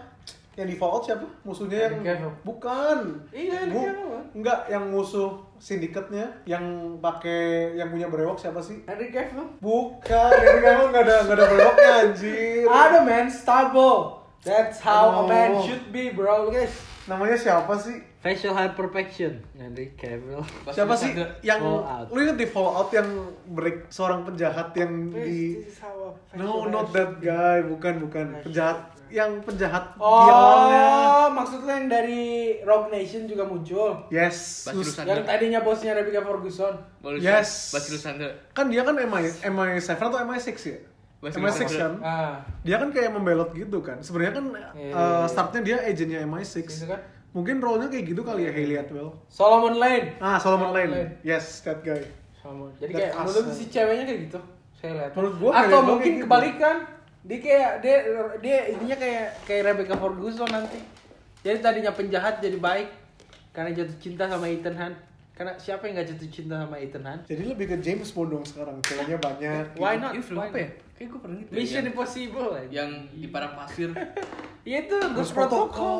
yang di Fallout siapa musuhnya yang Henry Cavill. bukan Iya, Henry Cavill kan? enggak yang musuh sindikatnya yang pakai yang punya brewok siapa sih Henry Cavill. bukan Henry Cavill nggak ada nggak ada brewoknya anjir Ada man stubble. That's how a Oh. man should be bro. Guys, Namanya siapa sih? Facial Hyperfection. Henry Cavill. siapa sih yang Fallout. lu inget di Fallout yang break seorang penjahat yang di No, not that guy, bukan bukan penjahat yang penjahat di awalnya. Oh, maksudnya yang dari Rogue Nation juga muncul. Yes, Basiru Sus- Yang tadinya bosnya Rebecca Ferguson. Yes. Basiru Sandra. kan dia kan MI MI7 atau MI6 ya? Basiru MI6 Sandra. kan? Ah, Dia kan kayak membelot gitu kan. Sebenarnya kan Iya, eh, startnya dia agentnya MI6. Gitu kan? Mungkin role-nya kayak gitu kali ya Hayley Atwell. Solomon Lane. Ah, Solomon Solomon Lane. Lane. Yes, that guy. Solomon. Jadi That kayak us, menurut eh. si ceweknya kayak gitu. Saya lihat. Menurut gua kayak Atau dia mungkin kayak gitu. kebalikan. Dia kayak dia dia intinya kayak kayak Rebecca Ferguson nanti. Jadi tadinya penjahat jadi baik karena jatuh cinta sama Ethan Hunt. Karena siapa yang gak jatuh cinta sama Ethan Hunt? Jadi lebih ke James Bond dong sekarang. Ceweknya banyak. Why not? Ini film Why apa ya? not? Kayak gue pernah gitu. Mission Yang- Impossible. aja. yang di padang <laughs> pasir. Ya itu Ghost Ghost Protocol. Protocol.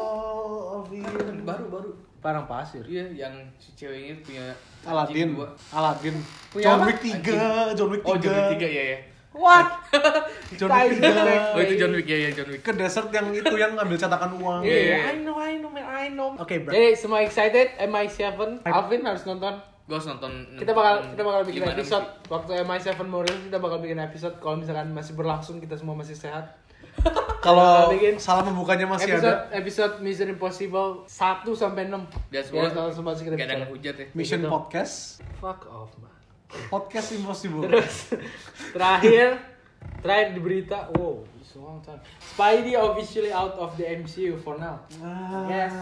of the- baru baru. Parang pasir. Iya, yang si ceweknya punya anjing Aladdin. dua. Aladdin. Punya John apa? Wick 3, John Wick 3. Oh, John Wick tiga ya ya. What? <laughs> John Wick tiga. Oh, iya, itu John Wick ya ya John Wick. Ke desert yang itu yang ngambil cetakan uang. Iya. Yeah, I know, I know, man, I know. Oke, bro. Jadi semua excited, MI7, Alvin harus nonton. Gue harus nonton. Kita Hmm. bakal kita bakal bikin Gimana episode sih? waktu MI7 mau rilis kita bakal bikin episode kalau misalkan masih berlangsung kita semua masih sehat. Bakal Kalau bikin salah membukanya masih episode ada episode Mission Impossible 1 sampai 6. Ya, Dan semoga langsung semua kita gak ada bicara. yang hujat ya. Mission Gitu. Podcast, Fuck off, man. <laughs> Podcast Impossible. Terakhir, terakhir di berita, wow, it's a long time. Spidey officially out of the MCU for now. Ah. Yes.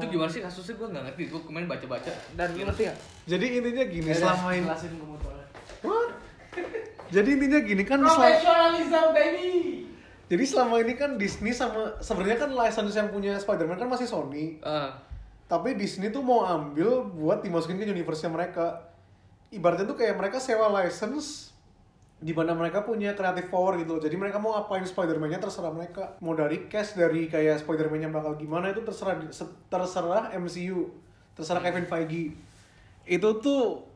Itu gimana sih kasusnya gue gak ngerti. Gue kemarin baca-baca. Dan lu ngerti nggak? Jadi intinya gini selama ini. Jelasin ke motornya. What? Jadi intinya gini kan selama, Professionalism baby. jadi selama ini kan Disney sama sebenarnya kan license yang punya Spider-Man kan masih Sony. Ah, Tapi Disney tuh mau ambil buat dimasukin ke universe mereka. Ibaratnya tuh kayak mereka sewa license di mana mereka punya creative power gitu loh. Jadi mereka mau apain Spider-Man-nya terserah mereka. Mau dari cash dari kayak Spider-Man-nya bakal gimana itu terserah terserah MCU, terserah Kevin Feige. Itu tuh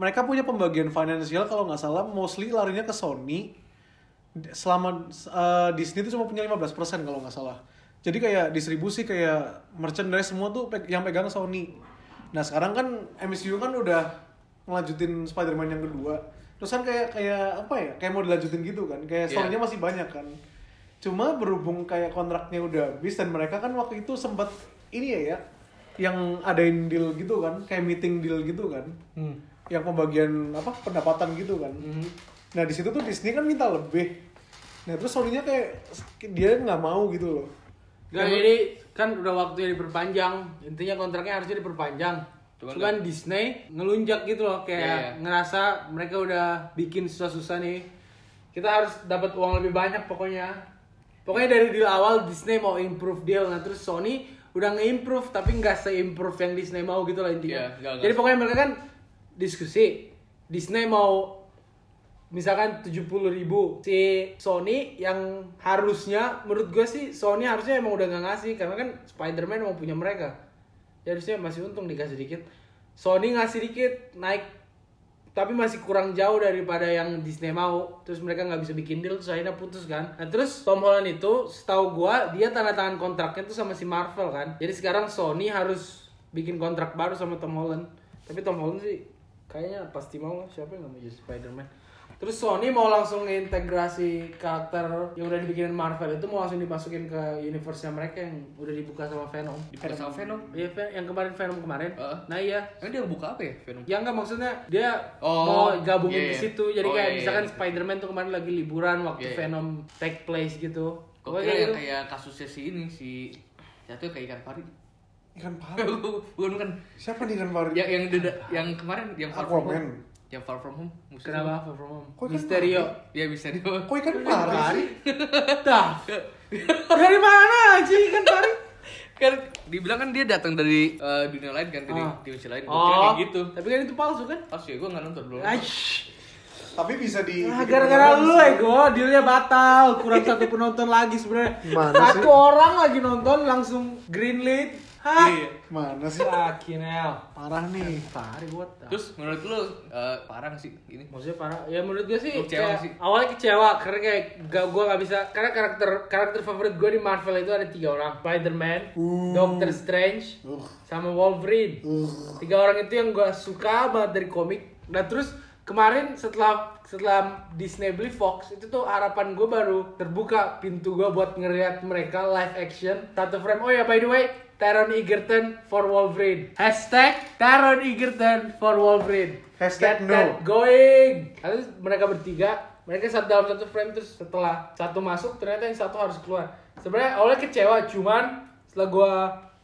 mereka punya pembagian finansial kalau nggak salah mostly larinya ke Sony. Selama eh, Disney itu cuma punya 15% kalau nggak salah. Jadi kayak distribusi kayak merchandise semua tuh pe- yang pegang Sony. Nah, sekarang kan MCU kan udah ngelanjutin Spider-Man yang kedua. Terus kan kayak kayak apa ya? Kayak mau dilanjutin gitu kan. Iya. Kayak Sony-nya masih banyak kan. Cuma berhubung kayak kontraknya udah habis dan mereka kan waktu itu sempat ini ya ya yang adain deal gitu kan, kayak meeting deal gitu kan. Yang pembagian apa pendapatan gitu kan. Hmm. Nah, di situ tuh Disney kan minta lebih. Nah, terus Sony-nya kayak dia nggak mau gitu loh. Gak, jadi kan udah waktunya diperpanjang. Intinya kontraknya harusnya diperpanjang. Cuman Cuman, Disney ngelunjak gitu loh kayak Iya, iya. ngerasa mereka udah bikin susah-susah nih. Kita harus dapat uang lebih banyak pokoknya. Pokoknya dari deal awal Disney mau improve deal nah terus Sony udah nge-improve tapi nggak se-improve yang Disney mau gitu loh intinya. Iya, nggak- nggak. jadi pokoknya mereka kan diskusi Disney mau misalkan 70.000 ribu si Sony yang harusnya menurut gue sih Sony harusnya emang udah nggak ngasih karena kan Spider-Man emang punya mereka ya harusnya masih untung dikasih dikit Sony ngasih dikit naik tapi masih kurang jauh daripada yang Disney mau terus mereka nggak bisa bikin deal terus akhirnya putus kan nah terus Tom Holland itu setahu gua dia tanda tangan kontraknya tuh sama si Marvel kan jadi sekarang Sony harus bikin kontrak baru sama Tom Holland tapi Tom Holland sih kayaknya pasti mau lah siapa yang nggak mau jadi Spider-Man Terus Sony mau langsung ngintegrasi karakter yang udah dibikinin Marvel itu mau langsung dimasukin ke universe-nya mereka yang udah dibuka sama Venom. Dibuka sama Venom? Iya, Ven- yang kemarin Venom kemarin. Heeh. Nah iya. Emang dia buka apa ya? Venom? Ya enggak maksudnya dia Oh, mau gabungin iya, ke iya. situ. Jadi Oh, kayak iya, iya. misalkan Spider-Man tuh kemarin lagi liburan waktu Iya, iya. Venom take place gitu. Gue Pokoknya kira kayak yang gitu. kayak kasusnya si ini si satu kayak ikan pari. Ikan pari. <laughs> Eh, bukan bukan. Siapa nih ikan pari? Ya, yang deda, yang kemarin yang far from Aquaman. home. Yang far from home. musuhnya. Kenapa Far From Home? Kok ikan Misterio. Ya bisa dia. Kok ikan pari? sih? Dah. <laughs> Dari mana aja kan Pari? <laughs> kan dibilang kan dia datang dari eh, dunia lain kan dari Ah. dimensi lain. Gua kira kayak gitu. Oh. Tapi kan itu palsu kan? Pas ya gue nggak nonton belum. Aish. tapi bisa di Ah, bikin gara-gara orang lu lain. ego, dealnya batal. Kurang satu penonton lagi sebenarnya. Gimana Satu sih? orang lagi nonton langsung greenlit. Hah? Iya. mana sih Yakin el. parah nih Parah gue. Terus menurut lu eh, parah nggak sih ini? Maksudnya parah. Ya menurut gue sih, Lu kecewa kayak- sih? awalnya kecewa karena kayak gak gue gak bisa karena karakter karakter favorit gue di Marvel itu ada tiga orang Spider-Man, Uh. Doctor Strange, Uh. sama Wolverine. Uh. Tiga orang itu yang gue suka banget dari komik. Nah terus kemarin setelah setelah Disney beli Fox itu tuh harapan gue baru terbuka pintu gue buat ngeliat mereka live action satu frame. Oh ya by the way. Taron Egerton for Wolverine. Hashtag Taron Egerton for Wolverine. Hashtag Get no. that going. Terus mereka bertiga, mereka satu dalam satu frame terus setelah satu masuk ternyata yang satu harus keluar. Sebenarnya awalnya kecewa, cuman setelah gua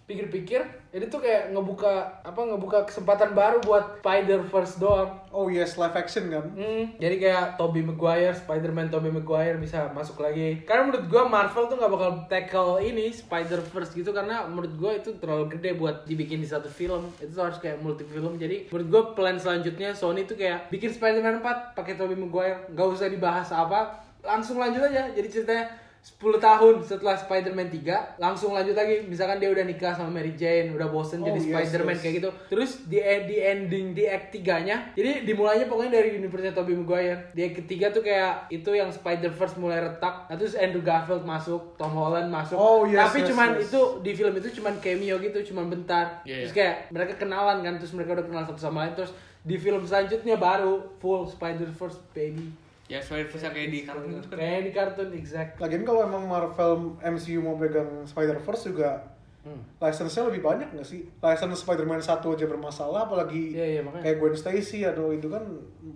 pikir-pikir, ini tuh kayak ngebuka apa ngebuka kesempatan baru buat Spider Verse doang. oh yes live action kan Hmm, jadi kayak Tobey Maguire, Spider-Man Tobey Maguire bisa masuk lagi. Karena menurut gua Marvel tuh nggak bakal tackle ini Spider-Verse gitu karena menurut gua itu terlalu gede buat dibikin di satu film. Itu tuh harus kayak multi film. Jadi menurut gua plan selanjutnya Sony tuh kayak bikin Spider-Man 4 pakai Tobey Maguire, nggak usah dibahas apa, langsung lanjut aja. Jadi ceritanya 10 tahun setelah Spider-Man 3 langsung lanjut lagi misalkan dia udah nikah sama Mary Jane udah bosen Oh, jadi yes, Spider-Man yes. kayak gitu terus di, di ending di act 3 nya jadi dimulainya pokoknya dari universe Tobey Maguire di act ketiga tuh kayak itu yang Spider-Verse mulai retak nah, terus Andrew Garfield masuk Tom Holland masuk Oh, yes, tapi yes, cuman yes. itu di film itu cuman cameo gitu cuman bentar Iya, terus iya. kayak mereka kenalan kan terus mereka udah kenal satu sama lain terus di film selanjutnya baru full Spider-Verse baby Ya spider verse kayak di kartun itu kan. kayak di kartun exact Lagian kalau emang Marvel MCU mau pegang Spider-Verse juga Hmm. license-nya lebih banyak nggak sih? License Spider-Man 1 aja bermasalah apalagi Iya, iya, makanya. kayak Gwen Stacy aduh itu kan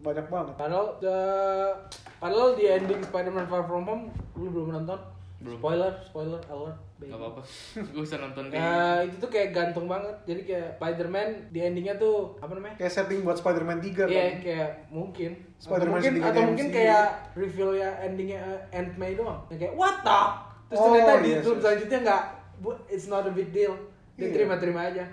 banyak banget. Padahal the- padahal di ending Spider-Man Far From Home lu belum nonton. Belum. Spoiler, spoiler alert. baby. Gak apa-apa. <laughs> Gue bisa nonton kayak Nah, itu tuh kayak gantung banget. Jadi kayak Spider-Man di endingnya tuh apa namanya? Kayak setting buat Spider-Man 3 Iya, kan. kayak mungkin. Spider-Man mungkin sedikit atau mungkin MCU. kayak reveal ya endingnya uh, Aunt May doang. Yang kayak what the? Terus Oh, ternyata di yes, film yes. selanjutnya nggak, bu- it's not a big deal. Dia Iya. terima-terima aja.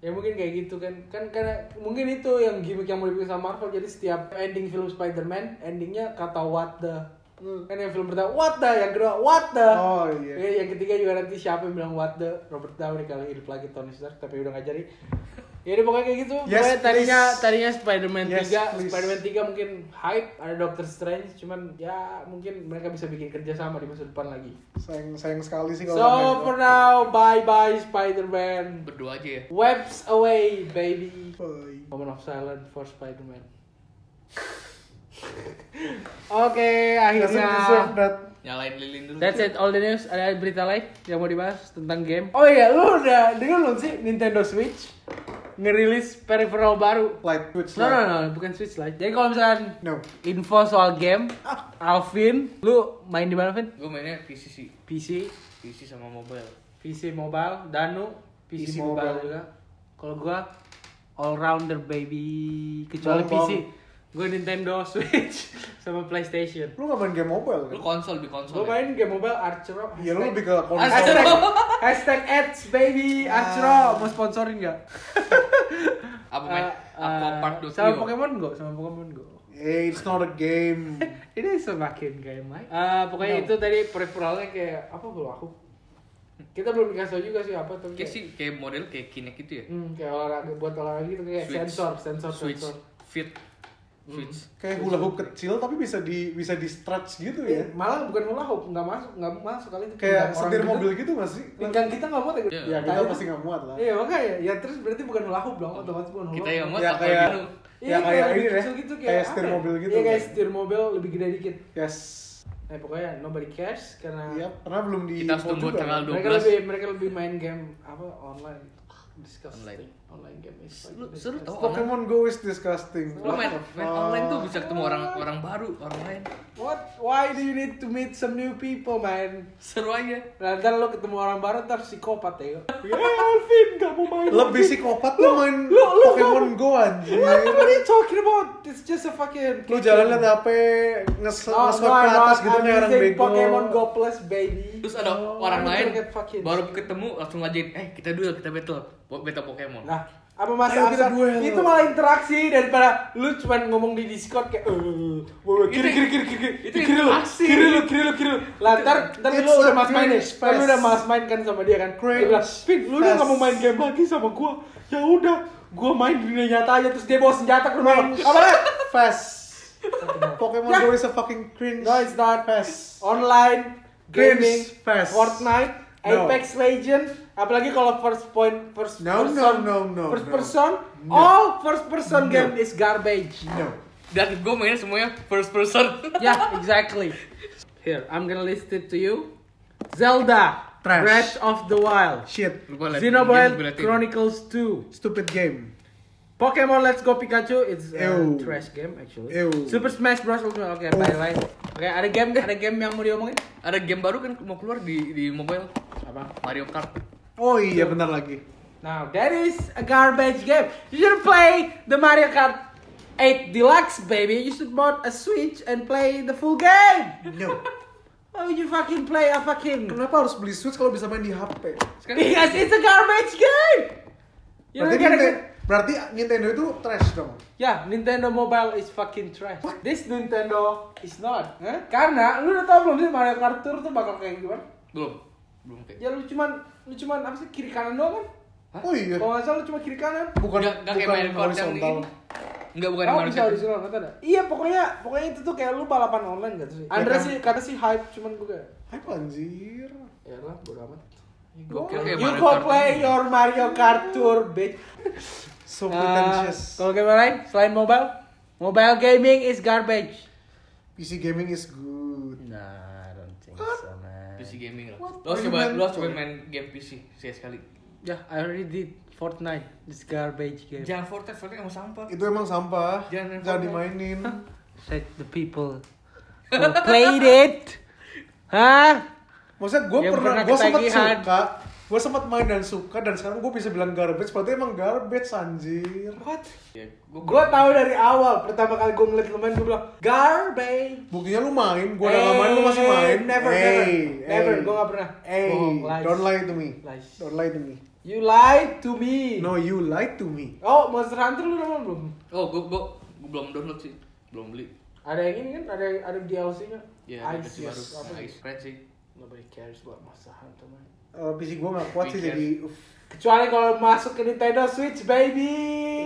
Ya mungkin kayak gitu kan. Kan karena mungkin itu yang gimmick yang mau dibikin sama Marvel. Jadi setiap ending film Spider-Man, endingnya kata what the. Kan yang film pertama what the, yang kedua what the. Hmm. Oh, iya. Ya, yang ketiga juga nanti siapa yang bilang what the Robert Downey kalau hidup lagi Tony Stark tapi udah nggak jadi. Ya udah pokoknya kayak gitu. Yes, pokoknya tadinya please. tadinya Spider-Man Yes, 3, please. Spider-Man 3 mungkin hype, ada Doctor Strange, cuman ya mungkin mereka bisa bikin kerja sama di masa depan lagi. Sayang sayang sekali sih kalau So sampai- for now, bye bye Spider-Man. berdua aja ya. Webs away baby. Bye. Moment of silence for Spider-Man. <laughs> Oke, akhirnya. Doesn't deserve that. Nyalain lilin dulu. That's it, all the news. Ada berita lain yang mau dibahas tentang game. Oh iya, lu udah dengar belum sih Nintendo Switch ngerilis peripheral baru? Light switch. No, no, no, bukan Switch Lite. Jadi kalau misalkan No. info soal game, Ah. Alvin, lu main di mana, Vin? Gue mainnya PC sih. PC, PC sama mobile. PC mobile, Danu, PC, PC mobile, mobile. juga. Kalau gua all rounder baby, kecuali Bong-bong. PC. Gua Nintendo <laughs> Switch sama PlayStation. Lu nggak main game mobile kan? Lu konsol di konsol. Gua ya? main game mobile Archer. of Iya lu Hashtag. lebih ke konsol. Hashtag, hashtag ads baby Ah. Astro mau sponsorin nggak? Apa main? Eh, Apa eh, part 2 sama Pokemon Go, sama Pokemon Go. Eh, it's not a game. Ini semakin kayak main. Eh, pokoknya itu tadi peripheralnya kayak apa belum aku? Kita belum dikasih tau juga sih apa tapi. Kayak Kayak, sih kayak model kayak Kinect gitu ya. hmm, kayak olahraga buat olahraga gitu kayak Switch. sensor, sensor, Switch, sensor. Hmm. fit, switch. Kayak hula hoop kecil tapi bisa di bisa di stretch gitu ya. Malah bukan hula hoop, nggak masuk, nggak masuk kali itu. Kayak Pinggang Iya. orang setir gendut. mobil gitu nggak sih? Pinggang kita nggak muat ya? Iya. Ya kita pasti nggak muat lah. Iya makanya, ya terus berarti bukan hula hoop dong, otomatis bukan hula Kita hoop. yang mau Ya, tak kayak- gitu. Iya, Ya, kayak ini deh. gitu, Kayak setir apa ya? mobil gitu Iya kayak kan. setir mobil lebih gede dikit. Yes. Nah pokoknya nobody cares karena Iya, karena belum di Kita harus tunggu tanggal mereka 12. lebih mereka lebih main game apa online. Disgusting. Online, Online. game is Lu seru tau online. Pokemon Go is disgusting. Lu main, What the main fuck? online tuh bisa ketemu orang orang baru, orang lain. What? Why do you need to meet some new people, man? Seru aja. Nah, ntar lo ketemu orang baru ntar psikopat <laughs> ya. Ya Alvin, gak mau main. lebih psikopat lu main lu- lu- kan- Pokemon Go anjir. What, what are you talking about? It's just a fucking. Lu jalan liat HP nges Oh, ngeswipe no, ke I'm atas not. gitu I'm kayak orang using bego. Pokemon Go Plus, baby. Terus ada Oh, orang I'm lain gonna get fucking baru shit. ketemu langsung ngajain, "Eh, kita duel, kita battle." Po- Battle Pokemon. Nah, sama Mas Ayo kita Amsar duel. itu malah interaksi daripada lu cuman ngomong di Discord kayak eh wah, kiri kiri kiri kiri itu kiri lu interaksi. kiri lu kiri lu kiri lu lantar ntar lu It's udah a mas main nih cringe Ntar lu fest. udah mas main kan sama dia kan Cringe dia bilang Pin lu udah fest. nggak mau main game lagi sama gua ya udah gua main di dunia nyata aja terus dia bawa senjata ke rumah lu. apa lah Fast. Pokemon Ya. Go is a fucking cringe. No, it's not. Fast. online Cringe gaming fest. Fortnite No. Apex Legends apalagi kalau first point first No, person no, no, no, first no. person No. all first person No. game is garbage No. Dan gue main semuanya first person. yeah, exactly. Here, I'm gonna list it to you. Zelda, Trash. Breath of the Wild, Shit. Lupa liat- game gue Xenoblade liatin. Chronicles 2, Stupid game. Pokemon Let's Go Pikachu. It's a Ew. trash game actually. Ew. Super Smash Bros. Ultimate. Oke, bye bye. Oke, ada game ada game yang mau diomongin? Ada game baru kan mau keluar di di mobile Apa? Mario Kart. Oh iya benar lagi. Now that is a garbage game. You should play the Mario Kart 8 Deluxe, baby. You should bought a Switch and play the full game. No. Why would you fucking play a fucking? Kenapa harus beli Switch kalau bisa main di HP? Iya Sekarang Because it's a garbage game. Ya, You're Berarti, not gonna Ninte- get. berarti Nintendo itu trash dong. Ya, Nintendo Mobile is fucking trash. This Nintendo is not. Huh? Karena lu udah tau belum sih Mario Kart Tour tuh bakal kayak gimana? belum belum kayak. Ya lu cuman lu cuman apa sih kiri kanan doang kan? Oh iya. Kalau nggak salah lu cuma kiri kanan. Bukan Nggak- nggak kayak bukan Mario Kart yang horizontal. ini. Enggak bukan Oh, Mario bisa Kart. original nggak ada. iya pokoknya pokoknya itu tuh kayak lu balapan online gitu sih Andre Ya kan? sih kata sih hype cuman gue kayak Hype anjir. ya lah bodo amat Gua kira kayak you Mario go Kart. play your Mario Kart tour bitch So Ah, pretentious. Kalau game lain selain mobile, mobile gaming is garbage. PC gaming is good. Nah, I don't think so, man. PC gaming lah. What? Lo harus Main coba main- lo harus coba main game PC sekali sekali. Yeah, Ya, I already did Fortnite. It's garbage Iya. game. Jangan Fortnite, Fortnite emang sampah. Itu emang sampah. Jangan main Jangan Fortnite. dimainin. Said the people who played it. Hah? Maksudnya gue Yang pernah, pernah gue sempat ketagihan. suka, gue sempat main dan suka dan sekarang gue bisa bilang garbage. Berarti emang garbage anjir. what Ya, gue tahu dari awal pertama kali gue ngeliat lu main gue bilang garbage Buktinya lu main, gue udah gak main, lu masih main. Never, never, never. Gue gak pernah. Hey, Bohong, lies. don't lie to me. Lies. Don't lie to me. You lied to me. No, you lied to me. Oh, Monster Hunter lu udah main belum? Oh, gua gua gua belum download sih. Belum beli. Ada yang ini kan? Ada ada DLC-nya. Ya, ada Ice, versi baru. yes. Apa? gitu? Ice Friend sih. Nobody cares about Monster Hunter man. Eh, PC gue gak kuat sih Weekend. jadi uff. Kecuali kalau masuk ke Nintendo Switch, baby.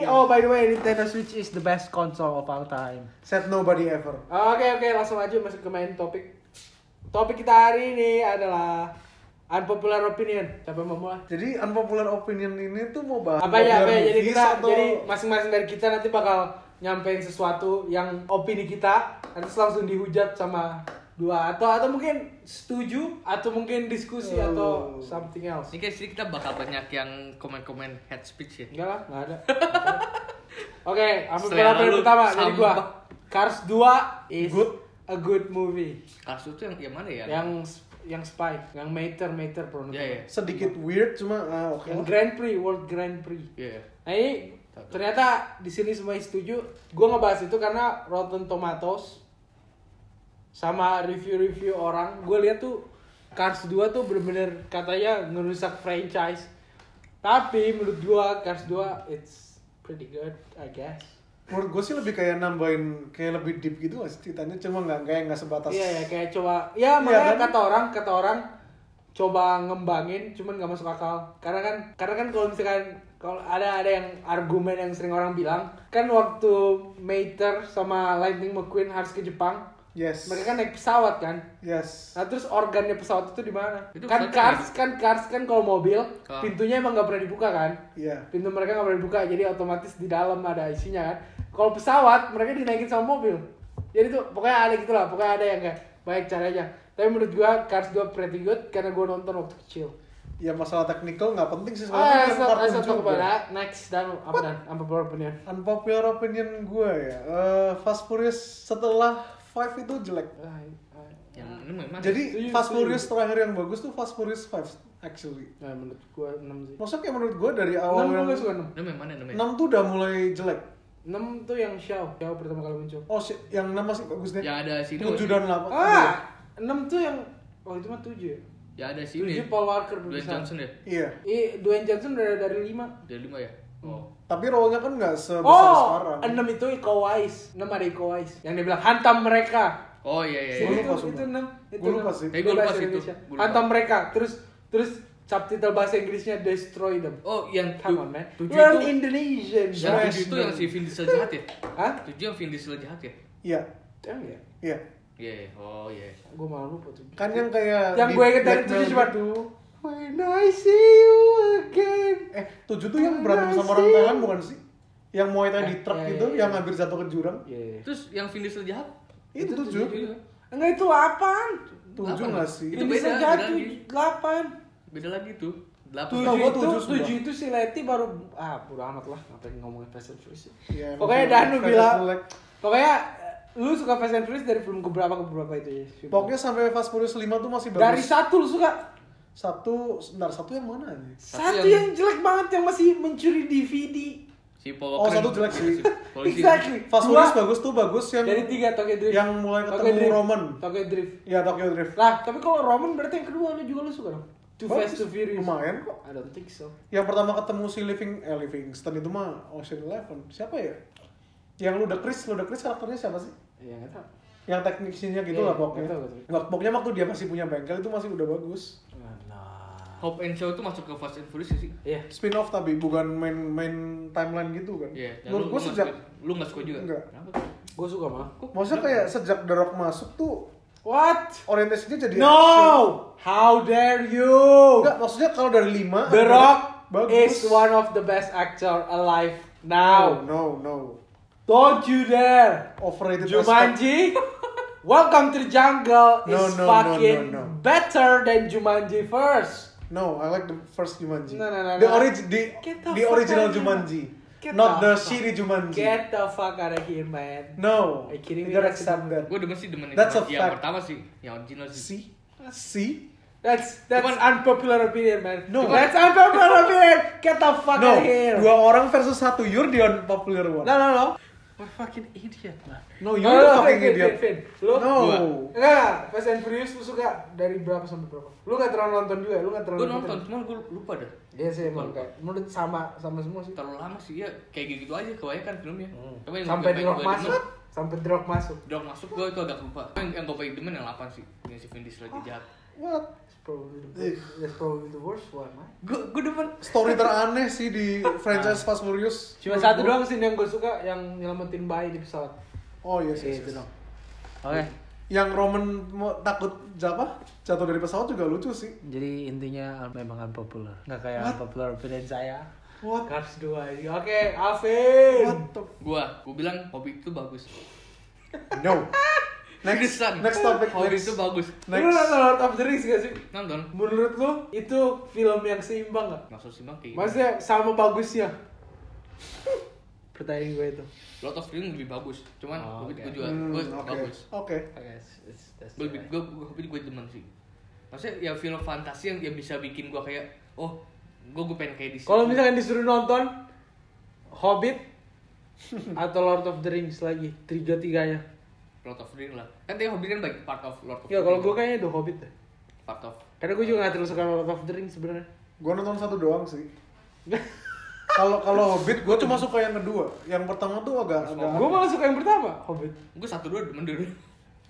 Oh, by the way, Nintendo Switch is the best console of all time. said nobody ever. Oke oke, langsung aja masuk ke main topik. Topik kita hari ini adalah unpopular opinion. Siapa yang mau mulai? Jadi unpopular opinion ini tuh Uh, mau bahas apa ya apa ya jadi movies kita atau- jadi masing-masing dari kita nanti bakal nyampein sesuatu yang opini kita terus langsung dihujat sama dua atau atau mungkin setuju atau mungkin diskusi Oh. atau something else Ini kayak sini kita bakal banyak yang komen-komen head speech ya. enggak lah nggak ada <laughs> oke apa Selera pilihan lu pertama dari gua sampah. Cars 2 is Good. a good movie Kasus itu yang yang mana ya? yang yang spy yang meter meter produk ya ya. sedikit weird cuma ah, oke. yang lah. Grand Prix World Grand Prix Ya. ya. Nah ini ternyata di sini semua setuju. Gue ngebahas itu karena Rotten Tomatoes sama review-review orang. Gue lihat tuh Cars 2 tuh bener-bener katanya ngerusak franchise. Tapi menurut gue Cars 2 it's pretty good I guess. Menurut gue sih lebih kayak nambahin kayak lebih deep gitu gak sih ceritanya cuma nggak kayak nggak sebatas. Iya ya kayak coba ya makanya kan? kata orang kata orang coba ngembangin cuman nggak masuk akal karena kan karena kan kalau misalkan kalau ada ada yang argumen yang sering orang bilang kan waktu Mater sama Lightning McQueen harus ke Jepang Yes. mereka kan naik pesawat kan Yes. nah terus organnya pesawat itu di mana Itu kan pesawat cars kan cars kan kalau mobil Ah. pintunya emang nggak pernah dibuka kan Iya. pintu mereka nggak pernah dibuka jadi otomatis di dalam ada isinya kan kalau pesawat mereka dinaikin sama mobil jadi tuh pokoknya ada gitu lah pokoknya ada yang kayak baik caranya tapi menurut gua Cars 2 pretty good karena gua nonton waktu kecil Ya masalah teknikal nggak penting sih ah sebenarnya. kan asal kartun asal juga. kepada next dan apa dan apa opinion Unpopular opinion gue ya. eh, Fast Furious setelah Five itu jelek. Ah, ah. Yang ini memang. Jadi Setuju, Fast setuju. Furious terakhir yang bagus tuh Fast Furious 5 actually. nah menurut gua 6 sih Maksudnya kayak menurut gue dari 6 awal gua yang nggak suka 6 ini memang mana ya? namanya? 6 tuh udah mulai jelek. 6 tuh yang Xiao Xiao pertama kali muncul Oh, shit, yang 6 masih bagus deh. Yang ada si Indo, 7 sih. ya? dan 8. ah 6 tuh yang oh itu mah 7 ya Ya ada si ini. 7 Paul Walker Dwayne berpisah Johnson ya. Iya. Ih, Dwayne Johnson udah dari 5 Dari lima ya. Hmm. Oh. Tapi role-nya kan nggak sebesar Oh, sekarang. enam itu Iko Uwais. Enam ada Iko Uwais. Yang dia bilang hantam mereka. Oh iya iya. Gua iya. lupa itu, sumpah. itu enam. Itu Gua lupa enam. sih. Kayak gua lupa Bahasa sih itu. Indonesia. Gua lupa. Hantam mereka. Terus terus subtitle bahasa Inggrisnya destroy them. Oh yang tu- Come on man. tujuh Learn itu Indonesian. yang tujuh Smash itu them. yang si Vin Diesel jahat ya? Hah? Tujuh yang Vin Diesel jahat ya? Iya, Damn ya. iya. Iya. iya. Oh iya. Gue malah lupa tuh. Kan yang kayak Yang di gue inget dari Blackmail tujuh cuma gitu. When I see you again. Eh, tujuh tuh yang berantem sama orang Thailand bukan sih? Yang Muay Thai di truk iya, itu, iya, yang hampir jatuh ke jurang. Iya. iya. Terus yang Vin Diesel jahat? Itu tujuh. Iya. Enggak itu apaan? Tujuh Delapan. nggak sih? Itu Itu beda, bisa beda jatuh lagi. delapan. Beda lagi tuh. Delapan. Tahu Tujuh gua itu, tujuh sudah. tujuh itu si Leti baru ah bodo amat lah ngapain ngomongin Fast and Furious. ya. Iya, emang pokoknya jelek, Danu Fast and bilang jelek. pokoknya eh, lu suka Fast and Furious dari film keberapa keberapa itu ya? film? Pokoknya sampai Fast Furious 5 tuh masih bagus. dari satu lu suka satu, sebentar, satu yang mana aja? satu, yang- yang... jelek banget yang masih mencuri DVD. Si Paul Oh, Walker. satu jelek sih. Si Polisi. Exactly. Fast Dua Furious bagus tuh bagus yang dari tiga Tokyo Drift. yang mulai Tokyo ketemu Drift. Roman. Tokyo Drift. Ya Tokyo Drift. Lah, tapi kalau Roman berarti yang kedua lu juga lu suka dong. Too Bagus, Fast, Too Furious. lumayan kok. I don't think so. Yang pertama ketemu si Living eh Livingston itu mah Ocean Eleven. Siapa ya? Yang Ludacris, Ludacris karakternya siapa sih? Iya, enggak tahu. Yang teknisinya gitu Iya, lah pokoknya. betul, betul. Wak- Pokoknya waktu dia masih punya bengkel itu masih udah bagus. Nah. Hope and Shaw itu masuk ke Fast and Furious ya sih. Iya. Spin off tapi bukan main main timeline gitu kan. Iya. Dan lu- Menurut gua lu nggak sejak suka- lu nggak suka juga. Nggak. Kenapa? Gue suka malah. maksudnya kayak sejak The Rock masuk tuh What? orientasinya jadi No! How dare you? Enggak, maksudnya kalau dari 5 The Rock is one of the best actor alive No, now. no, no. Don't you dare! Overrated as fuck. Jumanji, Welcome to the Jungle No, is no, no, fucking no, no. better than Jumanji first. No, I like the first Jumanji. No, no, no, the no. origi- the, Get the the fuck original out of here. Jumanji. Get Not the the fuck- shitty Jumanji. Get the fuck out of here, man. No. Are you kidding me? You gotta accept that. Gue demen sih demen yang, That's a yang fact. pertama sih, yang original sih. See? See? That's that's Cuman- unpopular opinion, man. No. that's unpopular opinion. Get the fuck No, out of here. dua orang versus satu. You're the unpopular one. No, no, no. What fucking idiot, Nah, man. No, you're the Oh, fucking Vin, Vin, idiot. Vin, Vin. Lu? No. Gua. Enggak, enggak. Fast and Furious lu suka dari berapa sampai berapa? Lu gak terlalu nonton juga, ya? lu gak terlalu Gue nonton, cuman gue lupa dah. Iya sih emang kayak menurut sama sama semua sih. Terlalu lama sih, ya kayak gitu aja kebanyakan filmnya. Hmm. Tapi yang Sampai gua- drop gua demen- masuk, sampai drop masuk. Drop masuk gue itu agak lupa. Yang, yang gue paling demen yang 8 sih, yang si Vin Diesel lagi jahat. What? That's probably the, that's probably the worst one, man. Gue gue demen. Story teraneh sih di franchise Fast Furious. Cuma Menurut satu gua. doang sih yang gue suka yang nyelamatin bayi di pesawat. Oh yes, yes, Iya, yes. itu dong. Oke, Yang Roman mau takut apa? Jatuh dari pesawat juga lucu sih. jadi intinya un- memang unpopular. Nggak kayak What? unpopular opinion saya. What? Cars 2 ini. Oke, Alvin. What the? Gue gue bilang hobi itu bagus. No. <laughs> Next. Seriusan. Next topic. Hobi next. itu bagus. Next. Lu nonton Next. Lord of the Rings gak sih? Nonton. Menurut lu itu film yang seimbang gak? Maksud sih bang kayak gini. Maksudnya sama bagusnya? Pertanyaan gue itu. gitu. Lot of Film lebih bagus. Cuman Oh, hobi oke. gue juga Hmm, gue Oke. bagus. Oke. Oke, it's- it's- that's gue Iya, alright. gue gue gue demen sih maksudnya ya film fantasi yang, yang bisa bikin gue kayak oh gue gue pengen kayak di sini Kalau misalkan disuruh nonton Hobbit atau Lord of the Rings lagi, tiga-tiganya. Lord of the Rings lah kan tadi Hobbit kan baik part of Lord of Ya the kalau Rings. gue kayaknya The Hobbit deh. part of Karena gue juga gak terlalu suka Lord of the Rings sebenarnya. Gue nonton satu doang sih. Nah. Kalau kalau Hobbit, gue cuma suka yang kedua. Yang pertama tuh agak agak. Gue malah suka yang pertama, Hobbit. gue satu dua demen dulu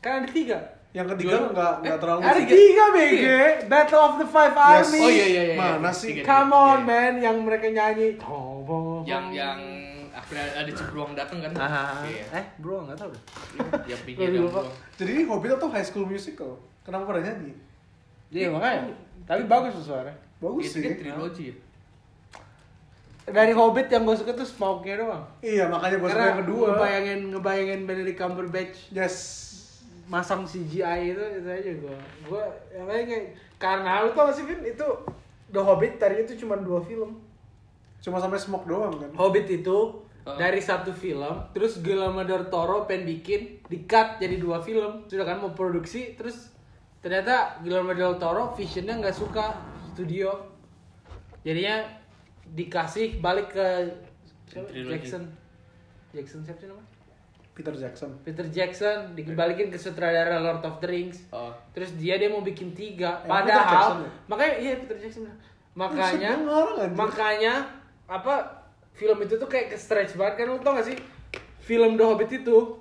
Kan ada tiga. Yang ketiga Dua. nggak nggak terlalu. Ada sih. tiga, BG. Battle of the Five Yes. Armies. oh iya iya iya Mana iya. sih? Tiga, tiga. Come on, Iya. man. Yang mereka nyanyi. Tong, bong, bong. yang yang akhirnya ada cebruang datang kan Ah, iya eh bro nggak tahu. deh. yang pinggir Lu yang lupa. buang. Jadi ini Hobbit atau High School Musical? Kenapa pada nyanyi? Iya makanya. Tapi bagus loh suaranya. Bagus itu sih. kan trilogi ya Dari Hobbit yang gue suka tuh smoke-nya doang. Iya makanya gue suka Karena yang kedua. Ngebayangin, ngebayangin Benedict Cumberbatch Yes. masang CGI itu itu aja gua gua yang lain kayak karena lu tau gak sih Vin itu The Hobbit tadinya itu cuma dua film Cuma sampai smoke doang kan. Hobbit itu Heeh. dari satu film terus Guillermo del Toro pengen bikin di cut jadi dua film sudah kan mau produksi terus ternyata Guillermo del Toro visionnya nggak suka studio jadinya dikasih balik ke siapa? Trilogi. Jackson Jackson siapa sih namanya Peter Jackson. Peter Jackson dikembalikan ke sutradara Lord of the Rings oh Terus dia dia mau bikin tiga. Emang Eh, Peter Jackson Padahal ya? makanya iya Peter Jackson. Makanya Buset, gua ngarang, anjir. makanya apa film itu tuh kayak ke stretch banget kan lu tau gak sih film The Hobbit itu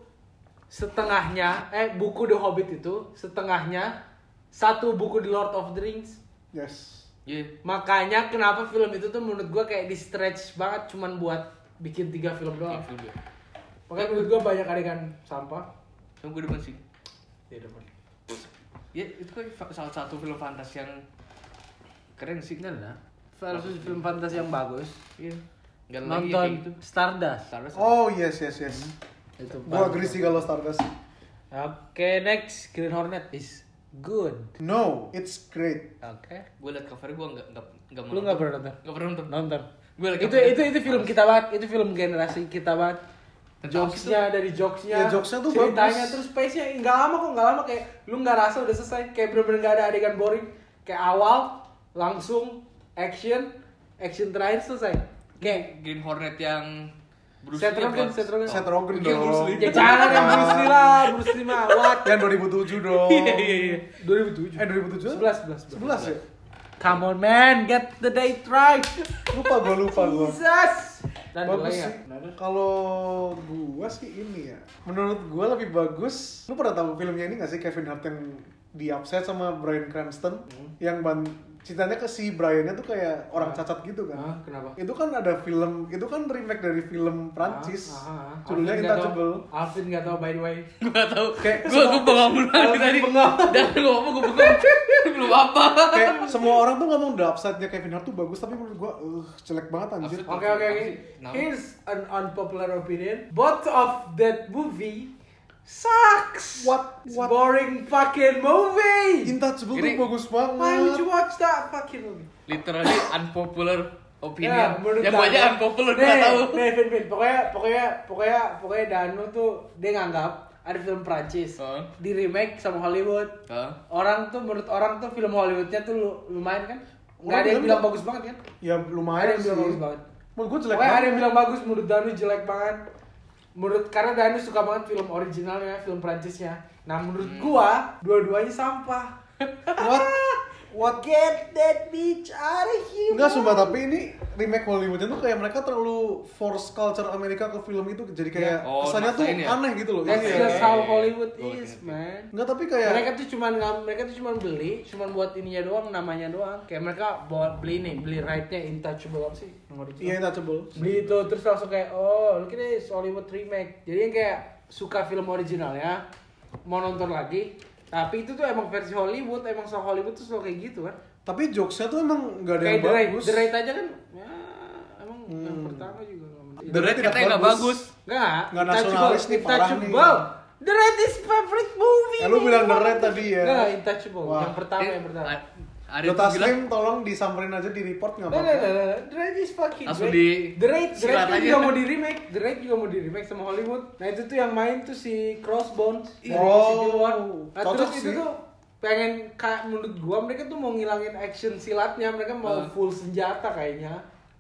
setengahnya eh buku The Hobbit itu setengahnya satu buku The Lord of the Rings Yes. Iya. makanya kenapa film itu tuh menurut gua kayak di stretch banget cuman buat bikin tiga film doang Film gue. makanya menurut gua banyak adegan sampah Film gue depan sih. di depan Ya itu kan fa- salah satu film fantasi yang keren sih kan lah. Salah satu film fantasi yang bagus. Iya. Gak ada lagi yang kayak gitu. Nonton Stardust. Star Wars. Oh yes yes yes. Hmm. Itu Gua bagus. agree sih kalau Stardust. Oke, next Green Hornet is good. No, it's great. Oke. Gue liat cover gue nggak nggak nggak mau. Lu nggak pernah nonton? Nggak pernah nonton. Nonton. Gue liat Itu covernya. itu itu film kita banget, itu film generasi kita banget. Tentang apa sih? jokesnya dari jokesnya Ya, jokesnya tuh ceritanya bagus. terus pace nya nggak lama kok nggak lama kayak lu nggak rasa udah selesai kayak bener-bener nggak ada adegan boring kayak awal langsung action action terakhir selesai kayak Green Hornet yang Bruce Seth Lee Rogen, buat- Seth Rogen. Seth Rogen Iya, Bruce dong. Lee. ya kan jangan <laughs> yang Bruce Lee lah Bruce Lee <laughs> mah what Iya, Yang 2007 dong. <laughs> Eh 2007 11 2007? 11 11 ya? Come on man, get the date right. Lupa <laughs> gua lupa gua. Jesus dan bagus mulai ya sih. Kalau gua sih ini ya. Menurut gua lebih bagus. Lu pernah tahu filmnya ini gak sih Kevin Hart yang di upset sama Bryan Cranston yang ban ceritanya ke si Bryannya tuh kayak orang cacat gitu kan. Hmm. Hah, Ah, kenapa? Itu kan ada film, itu kan remake dari film Prancis. Ah, ah, ah. Judulnya Alvin nggak tahu- Intouchable. Alvin nggak tahu by the way Gue gak tau. Kayak Gue gue bengong dulu Kalau tadi. bengong. <laughs> Dan gue ngomong <laughs> gue bengong. Belum apa. Kayak semua orang tuh ngomong the upside-nya Kevin Hart tuh bagus tapi menurut gua eh, jelek banget anjir. Upset. Oke oke oke. Kenapa? Here's an unpopular opinion. Both of that movie sucks. What- It's what- boring fucking movie. Intouchable tuh Ini- bagus Why would you banget. watch that fucking movie? Literally unpopular opinion. Ya, menurut yang Danu. banyak unpopular gue Nih, gak tau. Nih, Vin, Vin. Pokoknya, pokoknya, pokoknya, pokoknya Danu tuh dia nganggap ada film Prancis Heeh. di remake sama Hollywood. Heeh. Orang tuh menurut orang tuh film Hollywoodnya tuh lu- lumayan kan? Nggak Orang ada yang bilang bilang nggak- bagus banget kan? Ya Ada lumayan yang sih. bilang bagus banget. Menurut gua jelek Pokoknya ada banget. yang bilang bagus, menurut Danu jelek banget. Menurut karena Danu suka banget film originalnya, film Prancisnya. Nah menurut gua dua-duanya sampah. What? What? Get that bitch out of here. Enggak sumpah tapi ini remake Hollywood itu kayak mereka terlalu force culture Amerika ke film itu jadi kayak Iya. Oh, kesannya tuh maksain ya? aneh gitu loh. That's Iya. just how Hollywood Gua ngerti, is, ngerti. man. Enggak tapi kayak ya? Mereka tuh cuman ngam- mereka tuh cuman beli, cuman buat ininya doang, namanya doang. Kayak mereka bawa beli nih, beli right-nya Intouchable apa sih? Yang original. iya touchable. beli itu terus langsung kayak oh look at this Hollywood remake jadi yang kayak suka film originalnya mau nonton lagi tapi itu tuh emang versi Hollywood emang soal Hollywood tuh selalu kayak gitu kan Tapi jokesnya tuh emang enggak ada kayak yang The Raid bagus. Hmm. The Raid aja kan ya, emang yang pertama juga nggak menurut- The Raid Tidak katanya gak bagus. bagus. nggak Nggak Intouchable, nasionalis nih, parah nih. Intouchable. The Raid is favorite movie Eh, lu nih. bilang The Raid tadi ya. nggak Intouchable Wah. yang pertama Eh, yang pertama A- Ada yang Dota ah, bilang Slim tolong disamperin aja di report nggak Nah, nah, apa-apa. nah, nah. The Raid is fucking Langsung great. di- The Raid, The Raid silat kan aja. juga mau di remake. The Raid juga mau di remake sama Hollywood. Nah itu tuh yang main tuh si Crossbones dari Oh, Civil War. Nah, cocok terus itu sih. tuh pengen kayak menurut gua mereka tuh mau ngilangin action silatnya mereka mau Eh. full senjata kayaknya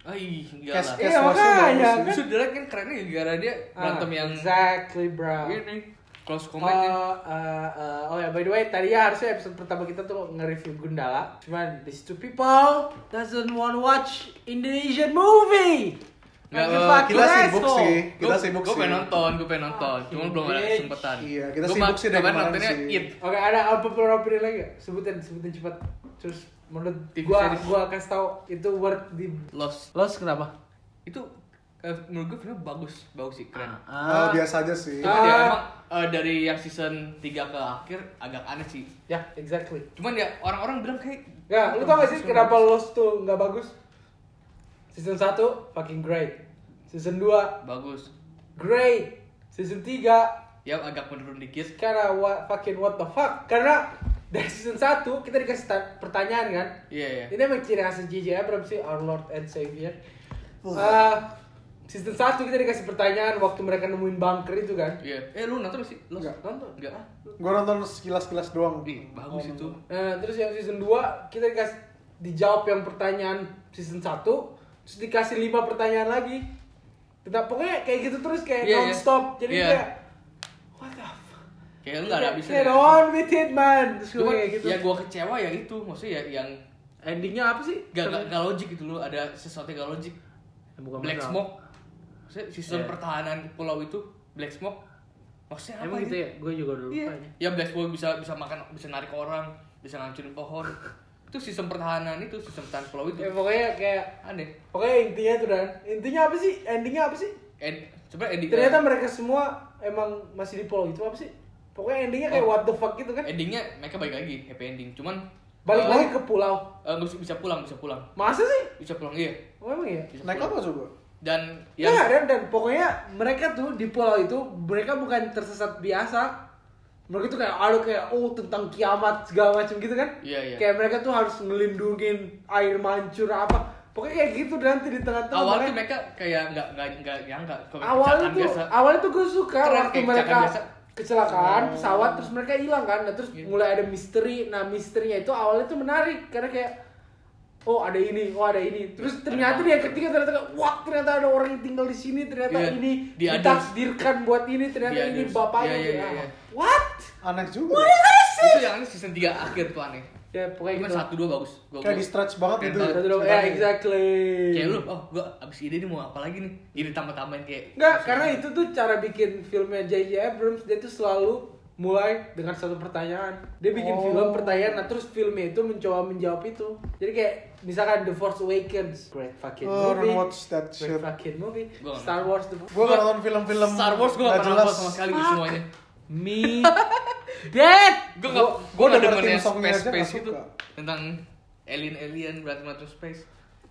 Ay, enggak Cash lah. cash Iya, washnya makanya. bagus. Justru Derek kan kerennya gara-gara dia berantem Ah, yang exactly bro ini close Oh, combat ya. eh, eh, oh ya by the way tadi ya harusnya episode pertama kita tuh nge-review Gundala cuman these two people doesn't want watch Indonesian movie Nggak, You eh, fucking Kita sibuk asshole. sih, kita Gua- sibuk gua sih. pengen nonton, gue pengen nonton, Fucking cuma belum ada bitch. kesempatan. Iya, kita Gua sibuk ma- sih dari kemarin kemarin nontonnya sih. It. Oke, ada apa popular opinion lagi gak? Sebutin, sebutin cepat. Terus menurut TV gua, series. gua kasih tahu itu worth di Lost. Los kenapa? Itu eh, menurut gue filmnya bagus, bagus sih, keren. Ah, biasa aja sih. Cuman ya Ah. emang eh, dari yang season 3 ke akhir agak aneh sih. ya exactly. Cuman ya orang-orang bilang kayak Nah, lu tau gak sih kenapa Lost tuh nggak bagus? Season 1 fucking great. Season 2 bagus. great. Season 3 Ya agak menurun dikit. karena what, fucking what the fuck karena dari season 1 kita dikasih ta- pertanyaan kan Iya, iya. ini emang ciri khas JJ Abrams sih our lord and savior Eh, season 1 kita dikasih pertanyaan waktu mereka nemuin bunker itu kan Iya. Eh lu nonton sih? Lost. Nggak. nonton Nggak. Gua nonton sekilas-sekilas doang. Ih, bagus itu. Nah, terus yang season 2 kita dikasih dijawab yang pertanyaan season 1 terus dikasih 5 pertanyaan lagi kita pokoknya kayak gitu terus kayak Iya, iya. non-stop jadi Iya. kayak what the fuck Kayak lu enggak ada bisa. ya. get on with it man terus Cuman gue kayak gitu ya gua kecewa ya itu, maksudnya ya yang Endingnya apa sih? gak, gak, gak logik gitu loh, ada sesuatu yang gak logik Bukan Black metal. Smoke. Maksudnya sistem Iya. pertahanan pulau itu Black Smoke. Maksudnya apa Emang gitu ini? ya? Gue juga udah Iya. lupa ya. Ya Black Smoke bisa bisa makan bisa narik orang, bisa ngancurin pohon. itu sistem pertahanan itu, sistem pertahanan pulau itu. Iya. Ya, pokoknya kayak Aneh. pokoknya intinya tuh dan intinya apa sih? Endingnya apa sih? Ed, sebenarnya ending Ternyata mereka semua emang masih di pulau itu apa sih? Pokoknya endingnya kayak Oh. what the fuck gitu kan? endingnya mereka balik lagi happy ending. Cuman Balik eh, lagi ke pulau. eh, bisa bisa pulang, bisa pulang. Masa sih? Bisa pulang iya. Oh, emang ya? Bisa Naik pulang. apa coba? Dan Ya, yang dan dan pokoknya Mereka tuh di pulau itu mereka bukan tersesat biasa. Mereka tuh kayak ada kayak oh tentang kiamat segala macam gitu kan? Iya, iya. Kayak mereka tuh harus ngelindungin air mancur apa. Pokoknya kayak gitu nanti di tengah-tengah. awal tuh mereka- mereka kayak nggak nggak nggak nyangka kalau awalnya tuh kecelakaan biasa. awalnya tuh gue suka Keren, waktu kayak mereka kecelakaan biasa. Oh. kecelakaan pesawat terus mereka hilang kan nah, terus Iya. mulai ada misteri nah misterinya itu awalnya tuh menarik karena kayak oh ada ini oh ada ini terus ternyata dia ketiga ternyata kayak, wah ternyata ada orang yang tinggal di sini ternyata Iya, ini di others. ditakdirkan buat ini ternyata Di ini others. bapaknya Iya, iya, Ya. iya, iya. what Aneh Ah, juga. itu yang aneh season 3 akhir tuh aneh. ya pokoknya Cuman gitu satu dua bagus. Gua, Kayak gua- di stretch banget Keren gitu. banget. Satu doang. ya exactly kayak lu oh gua abis ide nih mau apa lagi nih ide tambah tambahin kayak Enggak, karena itu tuh cara bikin filmnya J.J. Abrams dia tuh selalu mulai dengan satu pertanyaan. Dia bikin Oh. film pertanyaan, nah terus filmnya itu mencoba menjawab itu. Jadi kayak misalkan The Force Awakens, great fucking Oh, movie, watch that great shit. fucking movie, Gua nggak Star Wars, The Gue Gua- nonton film-film Star Wars gua nggak gak pernah nonton sama sekali gitu semuanya Me Dead. gua gak Gua- gua gua gak dengerin demen yang songnya space aja nggak space itu suka. tentang alien alien berantem berantem space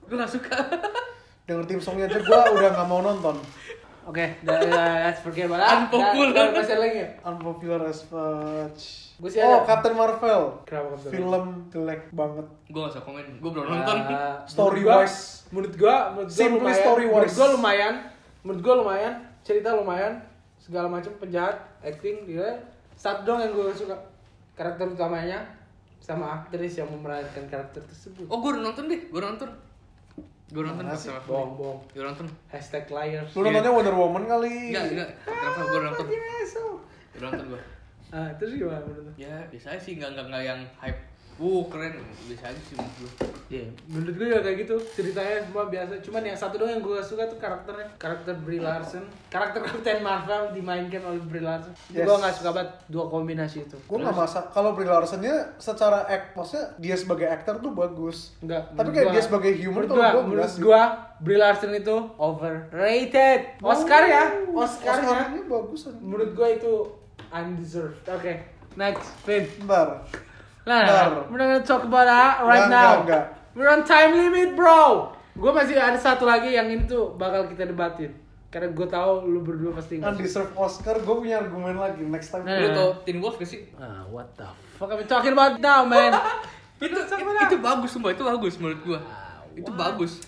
gua gak suka Denger tim songnya aja gue udah nggak mau nonton. Oke, dah- dah, let's forget about that. Unpopular. Dah- dah, masih ada lagi ya? Unpopular as fudge. Gua sih Oh, ada. Captain Marvel. Kenapa Captain Film jelek banget. gua gak usah komen gua belum nonton Ya, Ah, menurut Story gua- wise. menurut gua menurut gua Simply lumayan story menurut wise. gua lumayan menurut gua lumayan cerita lumayan segala macam penjahat acting dia satu dong yang gua suka karakter utamanya sama aktris yang memerankan karakter tersebut oh gua udah nonton deh gua udah nonton gua udah nonton Mana Captain sih? Marvel. bohong bohong gua udah nonton hashtag liars Iya. Lu nontonnya Wonder Woman kali. enggak enggak Captain Marvel gua udah nonton Yeah, so. gua udah nonton gua oh. ah terus gimana menurut lu? ya biasa aja sih nggak nggak nggak yang hype Wuh keren, biasa aja sih menurut gua Iya, menurut gue juga kayak gitu ceritanya semua biasa. Cuman yang satu doang yang gue suka tuh karakternya, karakter Brie Larson, karakter Captain Marvel dimainkan oleh Brie Larson. Yes. Gue nggak suka banget dua kombinasi itu. Gue nggak masak. Kalau Brie Larson-nya secara act, maksudnya dia sebagai aktor tuh bagus. Enggak. Tapi menurut kayak gua- dia sebagai humor menurut tuh gua, gua menurut berhasil. gua Brie Larson itu overrated. Oscar ya, Oh, Oscar ya. Oscar-nya bagus. aja. Menurut gua itu undeserved. Oke, next Vin. Bentar. Bentar. Nah, we're gonna talk about that right Enggak, now. enggak, enggak. We're on time limit, bro. Gua masih ada satu lagi yang ini tuh bakal kita debatin. Karena gua tahu lu berdua pasti nggak suka. Undeserved Oscar, gue punya argumen lagi next time. Nah. Lu tau Teen Wolf gak sih? Ah, what the fuck are we talking about now, man? <laughs> itu, it- itu bagus sumpah, itu bagus menurut gua Itu bagus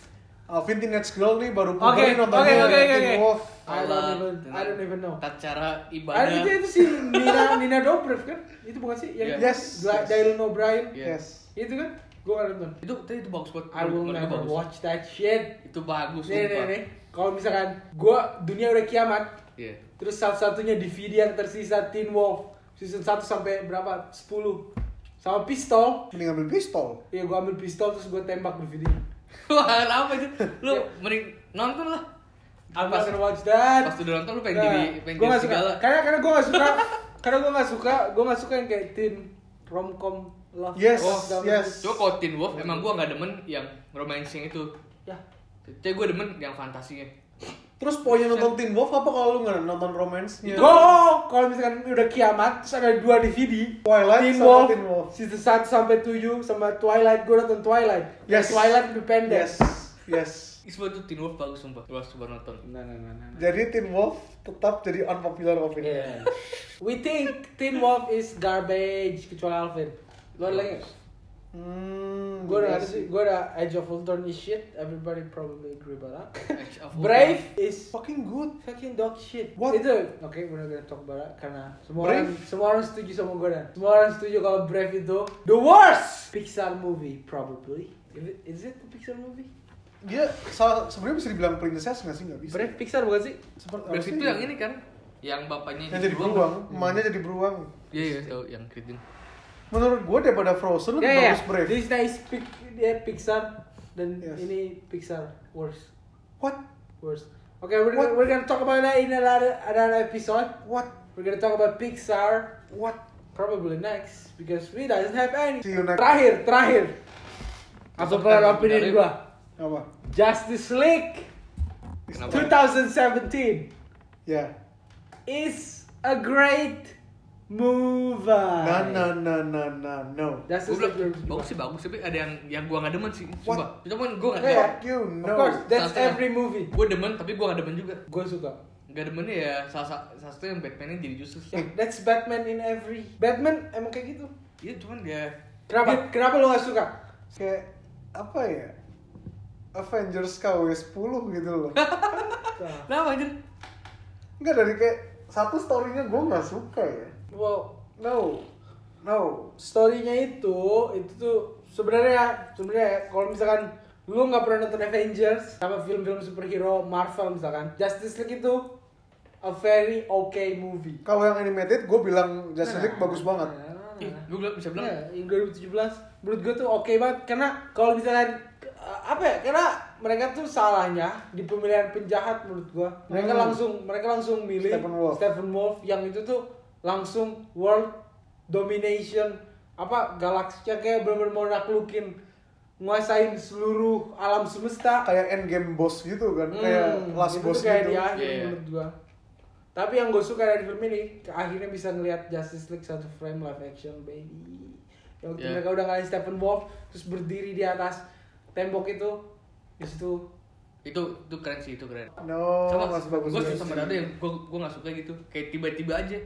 Alvin Teenage Girl nih baru Oke, kemarin oke, nontonnya oke, oke, Teen oke. Wolf. I don't even, I don't even know. Tata cara ibadah. Ah, itu, itu si Nina Nina Dobrev kan? Itu bukan sih yang Yes, Dila- yes. Dylan O'Brien? Iya. Yes. Itu kan? Gua nggak nonton. Itu tadi itu bagus banget. I will Menurut gua never bagus. watch that shit. Itu bagus Nih nih sumpah. nih. Kalau misalkan gua dunia udah kiamat, Iya. <laughs> terus satu-satunya DVD yang tersisa Teen Wolf season 1 sampai berapa? 10. Sama pistol. Mending ambil pistol. Iya, gua ambil pistol terus gua tembak DVD-nya. Wah, kenapa itu? Lu Ya. mending nonton lah. I'm Pas- not gonna watch that. Pas udah nonton lu pengen jadi pengen gue gak jadi Nah, suka. segala. Karena karena gue gak suka. karena gue gak suka. Gue gak suka yang kayak teen romcom love. Yes, Oh, segala yes. macam. Cuma kalau Teen Wolf emang gua nggak demen yang romance yang itu. Ya. Tapi gua demen yang fantasinya. Terus poinnya nonton Teen Wolf apa kalau lu nggak nonton romance-nya? Gue kalau misalkan udah kiamat terus ada dua DVD. Twilight teen sama Wolf, Teen Wolf. season 1 sampai 7 sama Twilight. Gue nonton Twilight. Yes. Twilight lebih pendek. Yes, yes. Isbah itu Teen Wolf bagus sumpah. Lu harus coba nonton. Nah, nah, nah, nah. nah. Jadi Teen Wolf tetap jadi unpopular opinion. Yeah. We think Teen Wolf is garbage kecuali Alvin. Lo ada lagi? nggak? Hmm, Gue udah juga ada sih, gue udah Edge of Ultron is shit. Everybody probably agree about that. Edge of Ultron. Brave is Fucking good. fucking dog shit. What? Itu oke, we're not gonna talk about that karena semua Brave? orang semua orang setuju sama gue dan semua orang setuju kalau Brave itu the worst Pixar movie probably. Is it, is it the Pixar movie? Dia sa- sebenarnya bisa dibilang princess nggak sih nggak bisa. Brave Pixar bukan sih? Seperti apa Brave sih? itu yang ini kan? Yang bapaknya Yang jadi beruang, emaknya jadi beruang. Iya, iya, tahu yang keriting. Menurut gue daripada Frozen lebih Ya ya. bagus Brave. Disney is pic- dia Pixar dan Yes. ini Pixar worst. What? Worst. Okay, we're gonna, What? we're gonna talk about that in another another episode. What? We're gonna talk about Pixar What? probably next because we doesn't have any. See you next- Terakhir, terakhir. Apa pernah opini menarik. gua? Apa? Justice League Kenapa? 2017 Ya. is a great movie. Na ya. na na na na no. Justice Gue bilang League. bagus sih bagus tapi ada yang yang gue nggak demen sih. Coba, cuman gue nggak Oke. demen. Fuck you Of no. course, that's Salah satu. every movie. Gue demen tapi gue nggak demen juga. Gue suka. Nggak demennya ya salah sa- salah satu yang Batman-nya jadi Justice. Yeah, that's Batman in every. Batman emang kayak gitu. Iya cuman ya Kenapa? Kenapa lo gak suka? Kayak apa ya? Avengers KW10 gitu loh. <laughs> Kenapa anjir? Enggak dari kayak satu story-nya gue nggak suka ya. Wow, No. No. story-nya itu itu tuh sebenarnya sebenarnya ya, kalau misalkan lu nggak pernah nonton Avengers sama film-film superhero Marvel misalkan Justice League itu a very okay movie. Kalau yang animated gue bilang Nah, Justice League bagus banget. Ih, gue bisa bilang Iya. Ya, yang 2017 menurut gue tuh oke banget karena kalau misalkan eh, apa ya karena mereka tuh salahnya di pemilihan penjahat menurut gue mereka Hmm. langsung mereka langsung milih Steppenwolf. Steppenwolf yang itu tuh langsung world domination apa galaksinya kayak bener-bener mau naklukin nguasain seluruh alam semesta Kayak endgame boss gitu kan, Hmm, kayak last itu boss tuh kayak gitu. di akhir Iya. menurut gua tapi yang gue suka dari film ini akhirnya bisa ngelihat Justice League satu frame live action baby yang waktu Iya. mereka udah ngalahin Stephen Wolf terus berdiri di atas tembok itu di situ itu itu keren sih itu keren. No, Sama, Oh, masih bagus. gue juga sama sih. ada yang gue gue nggak suka gitu. Kayak tiba-tiba aja,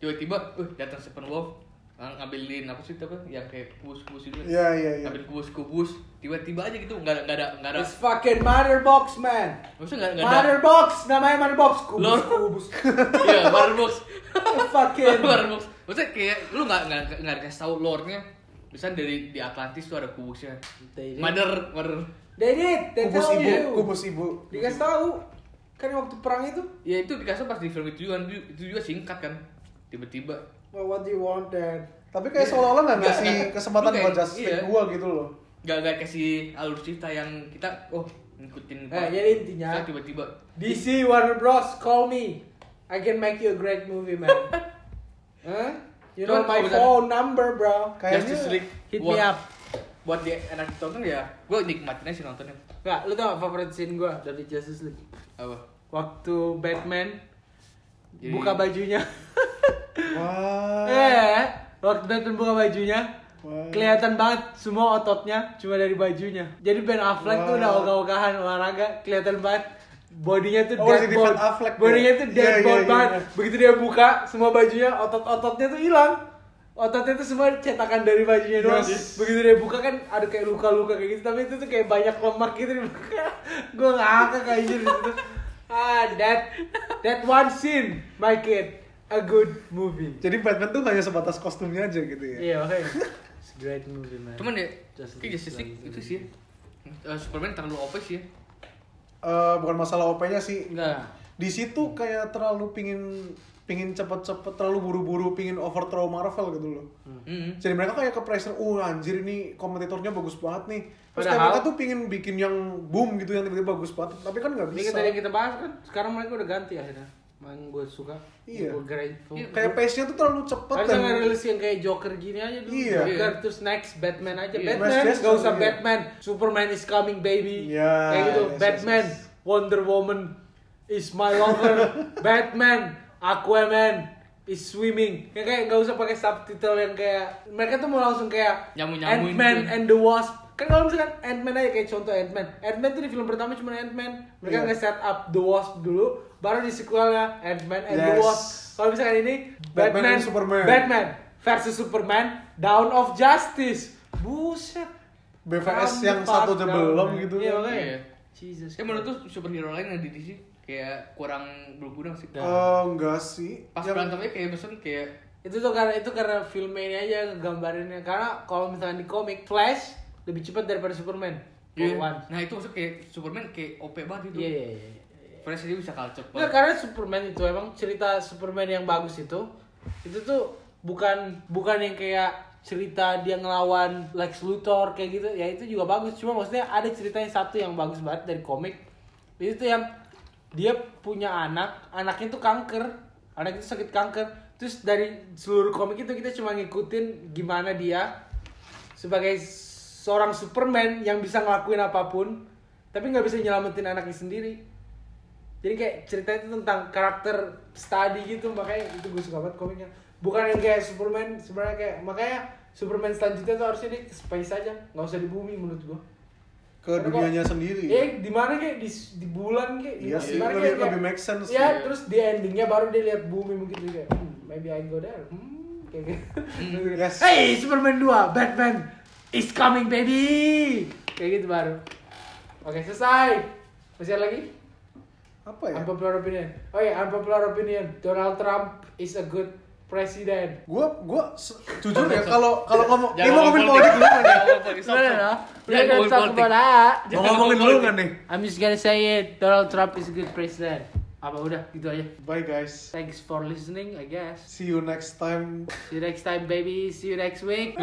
tiba-tiba, uh datang Steppenwolf ng- ngambilin apa sih itu apa yang kayak kubus-kubus itu Iya, iya, iya. ambil kubus-kubus tiba-tiba aja gitu nggak ada nggak ada nggak ada it's fucking mother box man maksudnya nggak nggak ada mother box namanya mother box kubus Lord. kubus iya baru box fucking baru box maksudnya kayak lu nggak nggak nggak ada kasih tahu lore-nya misalnya dari di Atlantis tuh ada kubusnya They did. mother mother they did they Kubus tell ibu, you kubus ibu. dikasih tahu kan waktu perang itu ya itu dikasih pas di film itu juga itu juga singkat kan tiba-tiba well, what do you want then Tapi kayak seolah-olah nggak Nggak, ngasih nggak. kesempatan Lu kayak- buat Justice iya. League gua gitu loh. nggak nggak kasih alur cerita yang kita oh Eh, ngikutin Pak. jadi intinya- Saya tiba-tiba DC Warner Bros. Call me. I can make you a great movie, man. <laughs> huh? You know Don't my call them. phone number, bro. Kayaknya Justice League hit me buat, up. buat dia enak ditonton ya gue nikmatin aja sih nontonnya Nggak, lu tau gak favorit scene gue dari Justice League? apa Waktu Batman Jadi- buka bajunya. <laughs> Wah. eh, waktu Batman buka bajunya. Wah. Kelihatan banget semua ototnya cuma dari bajunya. Jadi Ben Affleck tuh Wah. udah ogah-ogahan olahraga, kelihatan banget bodinya tuh Oh, dead jadi bod. Van Affleck ya? Bodinya tuh Iya, dead iya, bod iya, banget. iya. Begitu dia buka, semua bajunya otot-ototnya tuh hilang. Ototnya tuh semua cetakan dari bajunya Iya, doang. Yes. Begitu dia buka kan ada kayak luka-luka kayak gitu, tapi itu tuh kayak banyak lemak gitu di muka. <laughs> Gua ngakak anjir di situ. Ah, that that one scene, my kid, a good movie. Jadi Batman tuh hanya sebatas kostumnya aja gitu ya. Iya, <laughs> oke. It's a great movie, man. cuman ya Justice kayak Justice League League. itu sih ya. Eh, Superman terlalu OP sih ya Eh, bukan masalah OP-nya sih. Nah. enggak Di situ kayak terlalu pingin pingin cepet-cepet terlalu buru-buru pingin overthrow Marvel gitu loh. Jadi mereka kayak ke pressure, oh anjir ini kompetitornya bagus banget nih. Terus kayak Padahal- mereka tuh pingin bikin yang boom gitu yang tiba-tiba bagus banget, tapi kan nggak Ini bisa. kan tadi yang kita bahas kan, sekarang mereka udah ganti akhirnya. Main gue suka, Iya. gue grateful. Iya, Kayak pace-nya tuh terlalu cepet kan. Harusnya nggak rilis yang kayak Joker gini aja dulu. Iya. Joker terus next Batman aja. Iya. Batman Mas Jackson, nggak usah iya. Batman. Superman is coming baby. Iya, kayak gitu. yes, yes, Batman, yes. Wonder Woman is my <laughs> lover. Batman, Aquaman is swimming. Kayak kayak nggak usah pakai subtitle yang kayak mereka tuh mau langsung kayak Nyamu-nyamuin Ant-Man gitu. and the Wasp. Kan kalau misalkan Ant-Man aja kayak contoh Ant-Man. Ant-Man tuh di film pertama cuma Ant-Man. Mereka Iya. nge-set up The Wasp dulu, baru di sequelnya Ant-Man and the Yes. Wasp. Kalau misalkan ini Batman and Superman. Batman versus Superman, Dawn of Justice. Buset. BVS Calm yang the fuck satu aja down, belum man. gitu Iya, kan. makanya. Iya. Jesus. ya menurut tuh superhero lain yang di DC kayak kurang berguna sih Eh, enggak sih. pas Yang- berantemnya kayak pesan kayak itu tuh karena itu karena filmnya ini aja ngegambarinnya karena kalau misalnya di komik Flash lebih cepat daripada Superman. Iya. One. Nah itu maksudnya kayak Superman kayak OP banget itu. Iya iya iya. kan? Fresh aja bisa Iya, kalah cepat. Nggak, karena Superman itu emang cerita Superman yang bagus itu itu tuh bukan bukan yang kayak cerita dia ngelawan Lex Luthor kayak gitu ya itu juga bagus cuma maksudnya ada cerita yang satu yang bagus banget dari komik itu yang dia punya anak anaknya tuh kanker anaknya tuh sakit kanker terus dari seluruh komik itu kita cuma ngikutin gimana dia sebagai seorang Superman yang bisa ngelakuin apapun tapi nggak bisa nyelamatin anaknya sendiri jadi kayak ceritanya itu tentang karakter study gitu makanya itu gue suka banget komiknya bukan yang kayak Superman sebenarnya kayak makanya Superman selanjutnya tuh harusnya di space aja nggak usah di bumi menurut gue ke Karena dunianya kok- sendiri. ya? Eh, di mana kayak di, di bulan kayak di Iya sih, mana lebih- kayak- lebih make sense Iya, sih. terus di endingnya baru dia lihat bumi mungkin juga. Hmm, maybe I go there. Hmm, kayak gitu. <laughs> Yes. Hey, Superman 2, Batman is coming baby. Kayak gitu baru. Oke, selesai. Masih ada lagi? Apa ya? Unpopular opinion. Oh iya, unpopular opinion. Donald Trump is a good president. Gua gua se- jujur ya kalau kalau ngomong Jangan ini mau ngomongin politik dulu iya, kan ya? We're Jangan gonna ngomongin talk politik. about that. Mau ngomongin dulu kan nih? I'm just gonna say it. Donald Trump is a good president. Apa udah gitu aja. Bye guys. Thanks for listening, I guess. See you next time. See you next time, baby. See you next week.